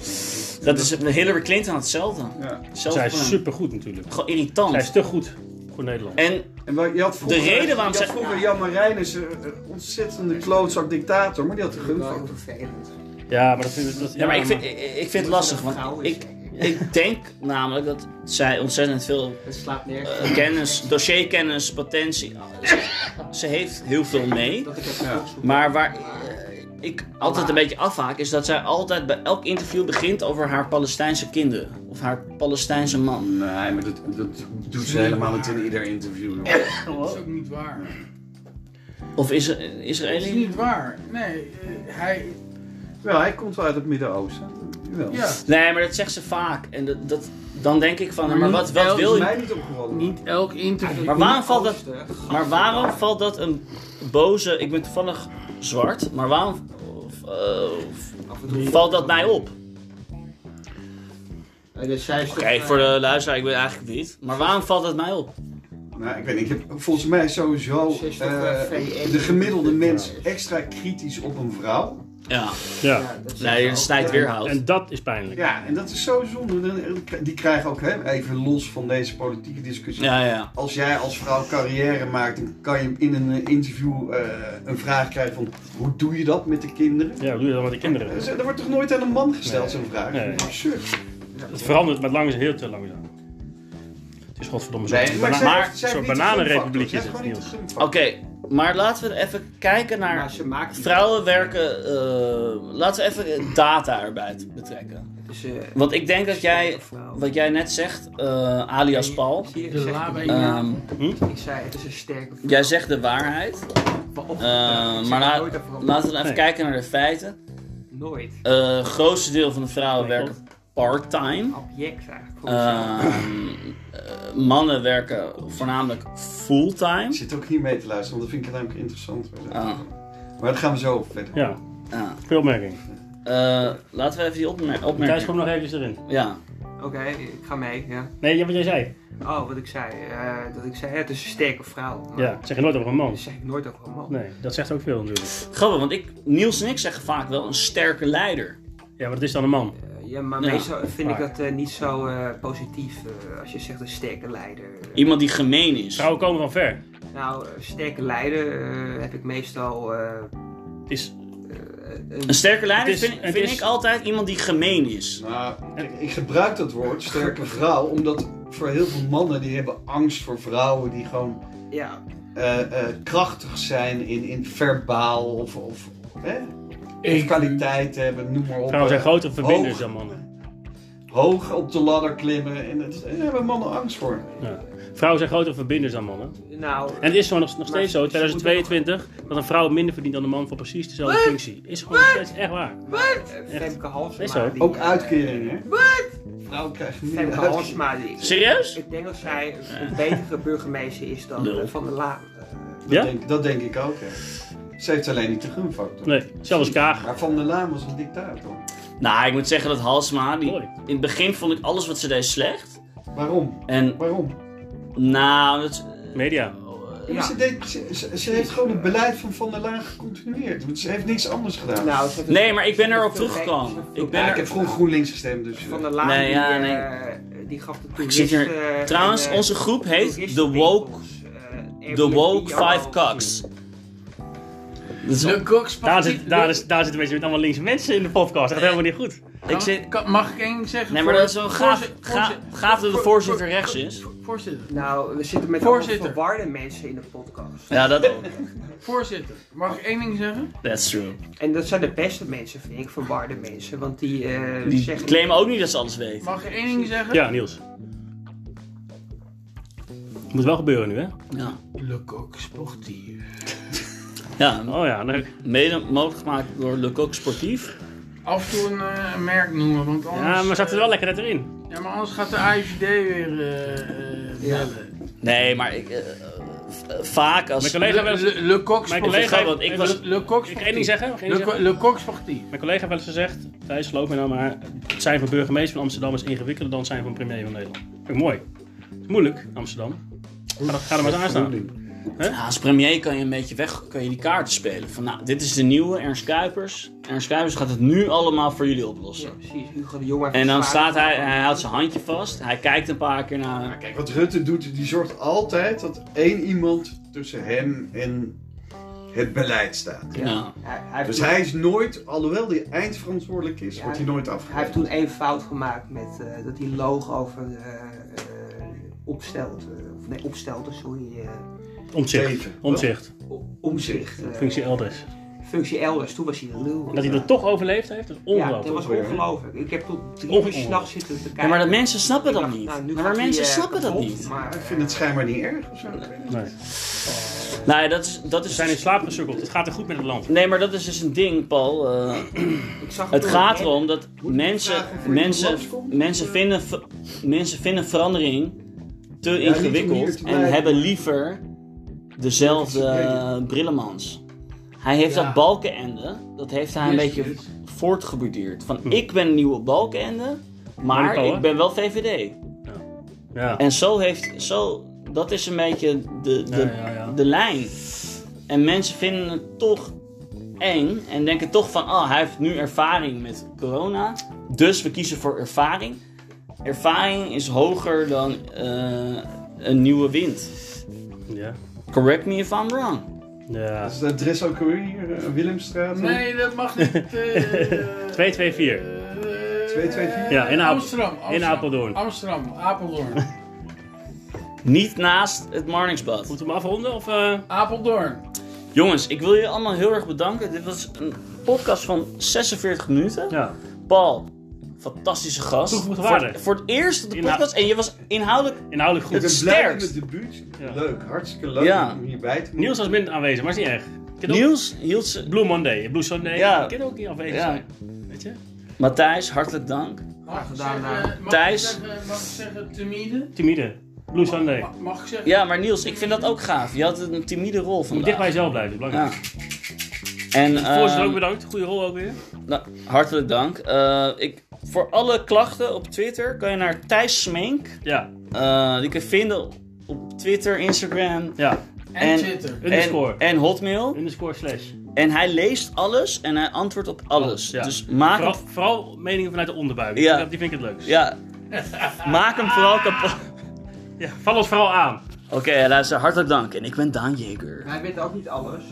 [SPEAKER 1] dat is Hillary Clinton had hetzelfde.
[SPEAKER 5] Ja.
[SPEAKER 1] Hetzelfde
[SPEAKER 2] Zij is
[SPEAKER 1] probleem.
[SPEAKER 2] supergoed natuurlijk.
[SPEAKER 1] Gewoon
[SPEAKER 2] Zij is
[SPEAKER 1] irritant.
[SPEAKER 2] te goed voor Nederland.
[SPEAKER 1] En
[SPEAKER 5] En waar- je had vroeger,
[SPEAKER 1] De reden waarom
[SPEAKER 5] je
[SPEAKER 1] zij-
[SPEAKER 5] had vroeger Jan Marijn is een een ontzettende klootzak dictator, maar die had de
[SPEAKER 4] Dat vind ik wel heel
[SPEAKER 5] gunfactor.
[SPEAKER 4] vervelend.
[SPEAKER 2] Ja, maar dat vind ik... Dat,
[SPEAKER 1] Ja, maar ik vind, ik ik vind het lastig, want ik, ik denk namelijk dat zij ontzettend veel
[SPEAKER 4] Het slaat nergens op.
[SPEAKER 1] eh, kennis, dossierkennis, potentie... Ze, ze heeft heel veel mee,
[SPEAKER 4] Dat ik het
[SPEAKER 5] Ja.
[SPEAKER 4] opzoek.
[SPEAKER 1] maar waar...
[SPEAKER 4] Maar
[SPEAKER 1] eh, ik altijd een beetje afhaak, is dat zij altijd bij elk interview begint over haar Palestijnse kinderen. Of haar Palestijnse man.
[SPEAKER 5] Nee, maar dat, dat doet ze helemaal niet in ieder interview. joh.
[SPEAKER 3] Dat is ook niet waar.
[SPEAKER 1] Of is er,
[SPEAKER 3] Dat is
[SPEAKER 1] Israëli?
[SPEAKER 3] niet waar. Nee, eh, hij...
[SPEAKER 5] Wel, hij komt wel uit het Midden-Oosten. Wel.
[SPEAKER 3] Ja.
[SPEAKER 1] Nee, maar dat zegt ze vaak. En dat, dat, dan denk ik van,
[SPEAKER 3] Maar
[SPEAKER 1] maar
[SPEAKER 3] niet
[SPEAKER 1] wat, wat
[SPEAKER 3] elk-
[SPEAKER 1] wil je?
[SPEAKER 5] Mij niet opgevallen.
[SPEAKER 3] Niet elk interview.
[SPEAKER 1] Maar waarom valt dat-
[SPEAKER 4] Oosten,
[SPEAKER 1] Maar waarom valt dat een boze... Ik ben toevallig zwart, maar waarom eh,
[SPEAKER 4] af en toe-
[SPEAKER 1] valt dat mij op?
[SPEAKER 4] Eh, dus zij is
[SPEAKER 1] Oké,
[SPEAKER 4] toch, eh,
[SPEAKER 1] voor de luisteraar, ik ben eigenlijk wit. Maar waarom valt het mij op?
[SPEAKER 5] Nou, ik weet niet. ik heb volgens mij sowieso
[SPEAKER 4] Ze is toch,
[SPEAKER 5] eh,
[SPEAKER 4] eh, VN?
[SPEAKER 5] de gemiddelde mens extra kritisch op een vrouw.
[SPEAKER 1] Ja,
[SPEAKER 2] Ja.
[SPEAKER 4] Ja, dat
[SPEAKER 1] nee,
[SPEAKER 4] is
[SPEAKER 1] het snijdt weer hout.
[SPEAKER 2] En dat is pijnlijk.
[SPEAKER 5] Ja, en dat is zo zonde. Dan- eh, Die krijgen ook hè, even los van deze politieke discussie.
[SPEAKER 1] Ja, ja.
[SPEAKER 5] Als jij als vrouw carrière maakt, dan kan je in een interview eh, een vraag krijgen van hoe doe je dat met de kinderen?
[SPEAKER 2] Ja, hoe doe je dat met de kinderen?
[SPEAKER 5] Dus, eh, Dat wordt toch nooit aan een man gesteld, zo'n vraag?
[SPEAKER 2] Nee.
[SPEAKER 5] Absurd.
[SPEAKER 2] Het verandert, maar langzaam, heel te langzaam. Het is godverdomme zo'n
[SPEAKER 5] maar
[SPEAKER 2] bana-
[SPEAKER 5] zij- zij
[SPEAKER 2] maar
[SPEAKER 5] heeft
[SPEAKER 2] zo'n
[SPEAKER 5] niet de
[SPEAKER 2] bananenrepubliek
[SPEAKER 5] gunfactor.
[SPEAKER 2] is
[SPEAKER 5] Zij
[SPEAKER 2] het,
[SPEAKER 5] heeft gewoon
[SPEAKER 2] Niels.
[SPEAKER 5] niet de
[SPEAKER 1] Oké,
[SPEAKER 5] gunfactor.
[SPEAKER 1] maar laten we even kijken
[SPEAKER 4] Maar
[SPEAKER 1] naar...
[SPEAKER 4] ze maakt
[SPEAKER 1] Vrouwen werken... eh, laten we even data erbij betrekken.
[SPEAKER 4] Dus, eh,
[SPEAKER 1] Want ik denk dat jij...
[SPEAKER 4] vrouw.
[SPEAKER 1] Wat jij net zegt, eh, alias Paul...
[SPEAKER 4] Zie je, ik
[SPEAKER 3] De
[SPEAKER 4] zeg het
[SPEAKER 3] laba-
[SPEAKER 4] niet.
[SPEAKER 1] ehm,
[SPEAKER 4] Ik zei, het is een sterke vrouw.
[SPEAKER 1] jij zegt de waarheid.
[SPEAKER 4] Waarom?
[SPEAKER 1] Eh,
[SPEAKER 4] Ik zeg
[SPEAKER 1] maar
[SPEAKER 4] het
[SPEAKER 1] la-
[SPEAKER 4] nooit over een-
[SPEAKER 1] laten we even
[SPEAKER 2] Nee.
[SPEAKER 1] kijken naar de feiten.
[SPEAKER 4] Nooit.
[SPEAKER 1] Het grootste deel van de vrouwen
[SPEAKER 2] Nee,
[SPEAKER 1] werkt part-time.
[SPEAKER 4] Object eigenlijk. voor mezelf.
[SPEAKER 1] Ehm, eh, mannen werken voornamelijk
[SPEAKER 5] Ik
[SPEAKER 1] fulltime.
[SPEAKER 5] zit ook niet mee te luisteren, want dat vind ik namelijk interessant.
[SPEAKER 1] Ah.
[SPEAKER 5] Maar dat gaan we zo verder.
[SPEAKER 2] Ja,
[SPEAKER 1] Ja.
[SPEAKER 2] veel opmerking.
[SPEAKER 1] Eh, laten we even die opmer
[SPEAKER 2] Thijs,
[SPEAKER 1] opmerking.
[SPEAKER 2] kom nog even erin.
[SPEAKER 1] Ja.
[SPEAKER 4] Oké, ik ga mee. Ja.
[SPEAKER 2] Nee, ja, wat jij zei.
[SPEAKER 4] Oh, wat ik zei. eh, dat ik zei, het is een sterke vrouw.
[SPEAKER 5] Ah.
[SPEAKER 4] Maar
[SPEAKER 2] Ja, zeg je nooit over een man.
[SPEAKER 4] Dat zeg ik nooit over een man.
[SPEAKER 2] Nee, dat zegt ook veel natuurlijk.
[SPEAKER 1] Grappig, want ik, Niels en ik zeggen vaak wel een sterke leider.
[SPEAKER 2] Ja, maar het is dan een man.
[SPEAKER 4] Eh, ja, maar
[SPEAKER 1] Ja.
[SPEAKER 4] meestal vind ik
[SPEAKER 2] Maar-
[SPEAKER 4] dat eh, niet zo eh, positief eh, als je zegt een sterke leider.
[SPEAKER 1] Iemand die gemeen is.
[SPEAKER 2] Vrouwen komen van ver.
[SPEAKER 4] Nou, eh, sterke leider eh, heb ik meestal... eh,
[SPEAKER 2] Het is,
[SPEAKER 4] een-
[SPEAKER 1] Een sterke leider
[SPEAKER 2] Het is-
[SPEAKER 1] vind,
[SPEAKER 2] het
[SPEAKER 1] vind
[SPEAKER 2] is-
[SPEAKER 1] ik altijd iemand die gemeen is.
[SPEAKER 5] Nou, ik, ik gebruik dat woord, sterke vrouw, omdat voor heel veel mannen die hebben angst voor vrouwen die gewoon
[SPEAKER 4] ja,
[SPEAKER 5] eh, eh, krachtig zijn in, in verbaal of, of, hè? of
[SPEAKER 3] Ik-
[SPEAKER 5] kwaliteit hebben, noem maar op.
[SPEAKER 2] vrouwen zijn
[SPEAKER 5] Eh,
[SPEAKER 2] grotere verbinders
[SPEAKER 5] hoog.
[SPEAKER 2] dan mannen.
[SPEAKER 5] Hoog op de ladder klimmen en het- daar hebben mannen angst voor.
[SPEAKER 2] Ja. Vrouwen zijn grotere verbinders dan mannen.
[SPEAKER 4] nou...
[SPEAKER 2] En het is gewoon nog, nog
[SPEAKER 4] Maar
[SPEAKER 2] steeds zo,
[SPEAKER 4] ze- ze moeten
[SPEAKER 2] 2022, dat een vrouw minder verdient dan een man voor precies dezelfde functie. Is gewoon nog steeds echt waar.
[SPEAKER 4] Wat? Femke Halsema.
[SPEAKER 2] Is zo.
[SPEAKER 4] die,
[SPEAKER 5] Ook
[SPEAKER 4] eh,
[SPEAKER 5] uitkeringen, hè? Wat? Vrouwen krijgen niet
[SPEAKER 4] Femke
[SPEAKER 5] uitkering.
[SPEAKER 4] Halsema. Die,
[SPEAKER 1] Serieus?
[SPEAKER 4] Ik denk dat zij een betere burgemeester is dan
[SPEAKER 1] Lul.
[SPEAKER 4] eh, Van der Laan. Eh,
[SPEAKER 5] Dat,
[SPEAKER 2] Ja?
[SPEAKER 5] denk, dat denk ik ook, hè. Ze heeft alleen niet de gunfactor.
[SPEAKER 2] Nee, zelfs Kaag.
[SPEAKER 5] Maar Van der Laan was een dictator.
[SPEAKER 1] Nou, ik moet zeggen dat Halsma, die,
[SPEAKER 2] Mooi.
[SPEAKER 1] in het begin vond ik alles wat ze deed slecht.
[SPEAKER 5] Waarom?
[SPEAKER 1] En
[SPEAKER 5] Waarom?
[SPEAKER 1] nou, dat,
[SPEAKER 2] Media.
[SPEAKER 5] Ja, maar Ze, deed, ze, ze- ze heeft gewoon het beleid van Van der Laan gecontinueerd. Want ze heeft niks anders gedaan.
[SPEAKER 4] Nou, ze heeft
[SPEAKER 1] Nee,
[SPEAKER 4] een-
[SPEAKER 1] maar ik ben
[SPEAKER 4] ze heeft
[SPEAKER 1] erop
[SPEAKER 4] veel
[SPEAKER 1] teruggekomen.
[SPEAKER 4] gek- ze heeft
[SPEAKER 1] Ik
[SPEAKER 4] veel
[SPEAKER 1] ben
[SPEAKER 5] ja,
[SPEAKER 1] er-
[SPEAKER 5] ik heb vroeger GroenLinks gestemd, dus... eh,
[SPEAKER 4] Van der Laan,
[SPEAKER 1] Nee, ja,
[SPEAKER 4] die,
[SPEAKER 1] nee.
[SPEAKER 4] eh, die gaf de toeristen...
[SPEAKER 1] zit hier-
[SPEAKER 4] eh,
[SPEAKER 1] Trouwens,
[SPEAKER 4] en, eh,
[SPEAKER 1] onze groep heet The Woke,
[SPEAKER 4] toeristenwinkels, eh,
[SPEAKER 1] The Woke
[SPEAKER 4] Airbnb
[SPEAKER 1] Five
[SPEAKER 4] allemaal.
[SPEAKER 1] Cocks. Dat is-
[SPEAKER 3] Le Coq
[SPEAKER 2] Daar, zit, daar, is, daar zitten mensen met allemaal linkse mensen in de podcast. Dat gaat helemaal niet goed.
[SPEAKER 1] ik zit,
[SPEAKER 3] Mag ik één zeggen?
[SPEAKER 1] nee, maar dat is wel gaaf,
[SPEAKER 3] Voorzitter,
[SPEAKER 1] gaaf,
[SPEAKER 3] voorzitter.
[SPEAKER 1] gaaf dat de
[SPEAKER 3] Voor-
[SPEAKER 1] voorzitter
[SPEAKER 3] voor-
[SPEAKER 1] rechts
[SPEAKER 3] voor-
[SPEAKER 1] is.
[SPEAKER 3] voor- Voorzitter.
[SPEAKER 4] Nou, we zitten met
[SPEAKER 3] Voorzitter.
[SPEAKER 4] allemaal verwarde mensen in de podcast.
[SPEAKER 1] Ja, dat ook.
[SPEAKER 3] Voorzitter, mag ik één ding zeggen?
[SPEAKER 1] That's true.
[SPEAKER 4] En dat zijn de beste mensen, vind ik, verwarde mensen. Want die, eh
[SPEAKER 1] Die
[SPEAKER 4] zeggen...
[SPEAKER 1] claimen ook niet dat ze alles weten.
[SPEAKER 3] Mag ik één ding zeggen?
[SPEAKER 2] Ja, Niels. Moet wel gebeuren nu, hè?
[SPEAKER 1] Ja,
[SPEAKER 3] Le Coq Sportief.
[SPEAKER 1] ja
[SPEAKER 2] Oh ja, leuk.
[SPEAKER 1] mede mogelijk gemaakt door Le Coq Sportief.
[SPEAKER 3] Af en toe een eh, merk noemen, want anders...
[SPEAKER 2] Ja,
[SPEAKER 4] dus,
[SPEAKER 2] maar zat er
[SPEAKER 3] eh,
[SPEAKER 2] wel lekker net erin.
[SPEAKER 3] Ja, maar anders gaat de AIVD weer eh, eh bellen.
[SPEAKER 1] Nee, maar ik, eh, eh, v- eh, vaak
[SPEAKER 2] Mijn
[SPEAKER 1] als...
[SPEAKER 2] collega
[SPEAKER 3] Le,
[SPEAKER 2] wel eens...
[SPEAKER 3] Le, Le Coq
[SPEAKER 2] Mijn
[SPEAKER 3] Sportief.
[SPEAKER 2] collega,
[SPEAKER 1] want ik was-
[SPEAKER 3] Le, Le Coq
[SPEAKER 2] Mag ik één ding
[SPEAKER 3] Sportief.
[SPEAKER 2] zeggen? Mag ik één
[SPEAKER 3] Le,
[SPEAKER 2] ding
[SPEAKER 3] Co- Le Coq Sportief.
[SPEAKER 2] Mijn collega heeft wel eens gezegd, Thijs, geloof me nou maar, het zijn van burgemeester van Amsterdam is ingewikkelder dan het zijn van premier van Nederland. Vind ik mooi. Het is moeilijk, Amsterdam. Ga, er- ga er maar eens aan staan.
[SPEAKER 1] Ja, als premier kan je een beetje weg, kan je die kaarten spelen. Van nou, dit is de nieuwe Ernst Kuipers. Ernst Kuipers gaat het nu allemaal voor jullie oplossen.
[SPEAKER 4] Ja, precies. Hugo de Jong heeft
[SPEAKER 1] En dan
[SPEAKER 4] het zwaar
[SPEAKER 1] staat hij,
[SPEAKER 4] van-
[SPEAKER 1] hij houdt zijn handje vast. Hij kijkt een paar keer naar
[SPEAKER 5] Maar eh. kijk, wat Rutte doet, die zorgt altijd dat één iemand tussen hem en het beleid staat.
[SPEAKER 4] Ja.
[SPEAKER 1] eh, Ja.
[SPEAKER 4] Hij, hij heeft
[SPEAKER 5] Dus
[SPEAKER 4] toen-
[SPEAKER 5] hij is nooit, alhoewel hij eindverantwoordelijk is, wordt hij nooit
[SPEAKER 4] Hij heeft
[SPEAKER 5] afgehaald.
[SPEAKER 4] toen één fout gemaakt met eh, dat hij loog over eh, eh, opstelt. eh, of nee, opstelte, sorry. eh,
[SPEAKER 2] Omzicht.
[SPEAKER 5] Zeven.
[SPEAKER 2] Omzicht.
[SPEAKER 4] o- omzicht. eh,
[SPEAKER 2] Functie elders.
[SPEAKER 4] functie elders. Toen was hij een lul.
[SPEAKER 2] En dat hij dat toch overleefd heeft, dat is
[SPEAKER 4] ja, dat
[SPEAKER 2] ongelooflijk.
[SPEAKER 4] was ongelooflijk. Ik heb tot drie uur
[SPEAKER 2] Ongelooflijk.
[SPEAKER 4] s'nachts zitten te kijken.
[SPEAKER 1] Ja, maar dat mensen
[SPEAKER 4] Ik
[SPEAKER 1] snappen dat
[SPEAKER 4] dacht,
[SPEAKER 1] niet.
[SPEAKER 4] nou, nu
[SPEAKER 1] Ja,
[SPEAKER 4] gaat
[SPEAKER 1] maar
[SPEAKER 4] hij,
[SPEAKER 1] mensen
[SPEAKER 4] eh,
[SPEAKER 1] snappen dat
[SPEAKER 4] kapot,
[SPEAKER 1] niet.
[SPEAKER 4] Maar, eh,
[SPEAKER 5] Ik vind het schijnbaar niet erg of zo.
[SPEAKER 2] Nee.
[SPEAKER 1] Nou ja, dat is, dat
[SPEAKER 2] Ze
[SPEAKER 1] is
[SPEAKER 2] zijn in slaap gesukkeld, het gaat er goed met het land.
[SPEAKER 1] Nee, maar dat is dus een ding, Paul. Eh,
[SPEAKER 4] ik zag
[SPEAKER 1] het
[SPEAKER 4] door-
[SPEAKER 1] gaat erom dat
[SPEAKER 5] ik
[SPEAKER 1] mensen,
[SPEAKER 5] vragen of er
[SPEAKER 1] mensen,
[SPEAKER 5] iemand langskomt?
[SPEAKER 1] mensen, vinden, ver- mensen vinden verandering te
[SPEAKER 5] niet om hier
[SPEAKER 1] ingewikkeld
[SPEAKER 5] te
[SPEAKER 1] en
[SPEAKER 5] blijven.
[SPEAKER 1] hebben liever dezelfde
[SPEAKER 5] Ja.
[SPEAKER 1] eh, brillemans. Hij heeft
[SPEAKER 3] Ja.
[SPEAKER 1] dat balkenende, dat heeft hij een
[SPEAKER 3] Yes,
[SPEAKER 1] beetje
[SPEAKER 3] yes.
[SPEAKER 1] voortgeborduurd.
[SPEAKER 5] Hm.
[SPEAKER 1] Van ik ben een nieuwe balkenende,
[SPEAKER 2] Maar
[SPEAKER 1] maar
[SPEAKER 2] Paul, hè?
[SPEAKER 1] ik ben wel VVD.
[SPEAKER 2] Ja.
[SPEAKER 1] En zo heeft, zo, dat is een beetje de, de,
[SPEAKER 2] Ja, ja, ja.
[SPEAKER 1] de lijn. En mensen vinden het toch eng en denken toch van, oh, hij heeft nu ervaring met corona, dus we kiezen voor ervaring. Ervaring is hoger dan eh, een nieuwe wind.
[SPEAKER 2] Ja.
[SPEAKER 1] Correct me if I'm wrong.
[SPEAKER 2] ja.
[SPEAKER 5] Is het adres ook weer hier? eh, Willemstraat?
[SPEAKER 3] Nee, dat mag niet. eh,
[SPEAKER 2] 224.
[SPEAKER 3] eh,
[SPEAKER 5] 224?
[SPEAKER 2] Ja, in Apel-
[SPEAKER 3] Amsterdam, Amsterdam.
[SPEAKER 2] Apeldoorn.
[SPEAKER 3] Amsterdam, Apeldoorn.
[SPEAKER 1] Niet naast het Marningsbad.
[SPEAKER 2] Moeten we hem afronden? Of, eh,
[SPEAKER 3] Apeldoorn.
[SPEAKER 1] Jongens, ik wil jullie allemaal heel erg bedanken. Dit was een podcast van 46 minuten.
[SPEAKER 2] Ja.
[SPEAKER 1] Paul, fantastische gast.
[SPEAKER 2] Toegevoegde waarde.
[SPEAKER 1] voor, voor het eerst op de
[SPEAKER 2] Inhou-
[SPEAKER 1] podcast en je was inhoudelijk
[SPEAKER 2] Inhoudelijk
[SPEAKER 5] Ik
[SPEAKER 2] goed.
[SPEAKER 5] ben blij
[SPEAKER 1] sterkt.
[SPEAKER 5] met het debuut.
[SPEAKER 2] Ja.
[SPEAKER 5] Leuk, hartstikke leuk
[SPEAKER 1] Ja.
[SPEAKER 5] om hierbij te
[SPEAKER 2] Niels was minder aanwezig, maar is niet erg. Kan ook-
[SPEAKER 1] Niels eh, hield ze.
[SPEAKER 2] Blue Monday, Blue Sunday.
[SPEAKER 1] Ja.
[SPEAKER 2] Kan ook niet afwezig
[SPEAKER 1] Ja.
[SPEAKER 2] zijn. Weet je?
[SPEAKER 1] Matthijs, hartelijk dank.
[SPEAKER 3] Mag ik
[SPEAKER 4] gedaan,
[SPEAKER 3] zeggen, mag
[SPEAKER 1] Thijs.
[SPEAKER 3] Ik zeggen, mag ik zeggen, timide?
[SPEAKER 2] Timide. Blue Sunday.
[SPEAKER 3] Mag, mag ik zeggen?
[SPEAKER 1] Ja, maar Niels, ik vind dat ook gaaf. Je had een timide rol
[SPEAKER 2] Moet dicht bij
[SPEAKER 1] vandaag.
[SPEAKER 2] jezelf blijven,
[SPEAKER 1] Ja.
[SPEAKER 2] belangrijk.
[SPEAKER 1] En
[SPEAKER 2] Voorzitter ook
[SPEAKER 1] ehm,
[SPEAKER 2] bedankt, goede rol ook weer.
[SPEAKER 1] nou, hartelijk dank. Eh, ik, voor alle klachten op Twitter kan je naar Thijs Smeenk.
[SPEAKER 2] Ja,
[SPEAKER 1] Eh, die kun je vinden op Twitter, Instagram
[SPEAKER 2] ja.
[SPEAKER 1] en-
[SPEAKER 3] En Twitter.
[SPEAKER 1] en,
[SPEAKER 2] Underscore.
[SPEAKER 1] en Hotmail.
[SPEAKER 2] Underscore slash.
[SPEAKER 1] En hij leest alles en hij antwoordt op alles.
[SPEAKER 2] Oh, Ja.
[SPEAKER 1] Dus maak
[SPEAKER 2] Vooral,
[SPEAKER 1] hem,
[SPEAKER 2] vooral meningen vanuit de onderbuik.
[SPEAKER 1] Ja.
[SPEAKER 2] Die vind ik het leukst.
[SPEAKER 1] ja, maak hem vooral kapot.
[SPEAKER 2] Ja, Val ons vooral aan.
[SPEAKER 1] Oké, luister, hartelijk dank. En ik ben Daan Jeger.
[SPEAKER 4] Hij weet ook niet alles.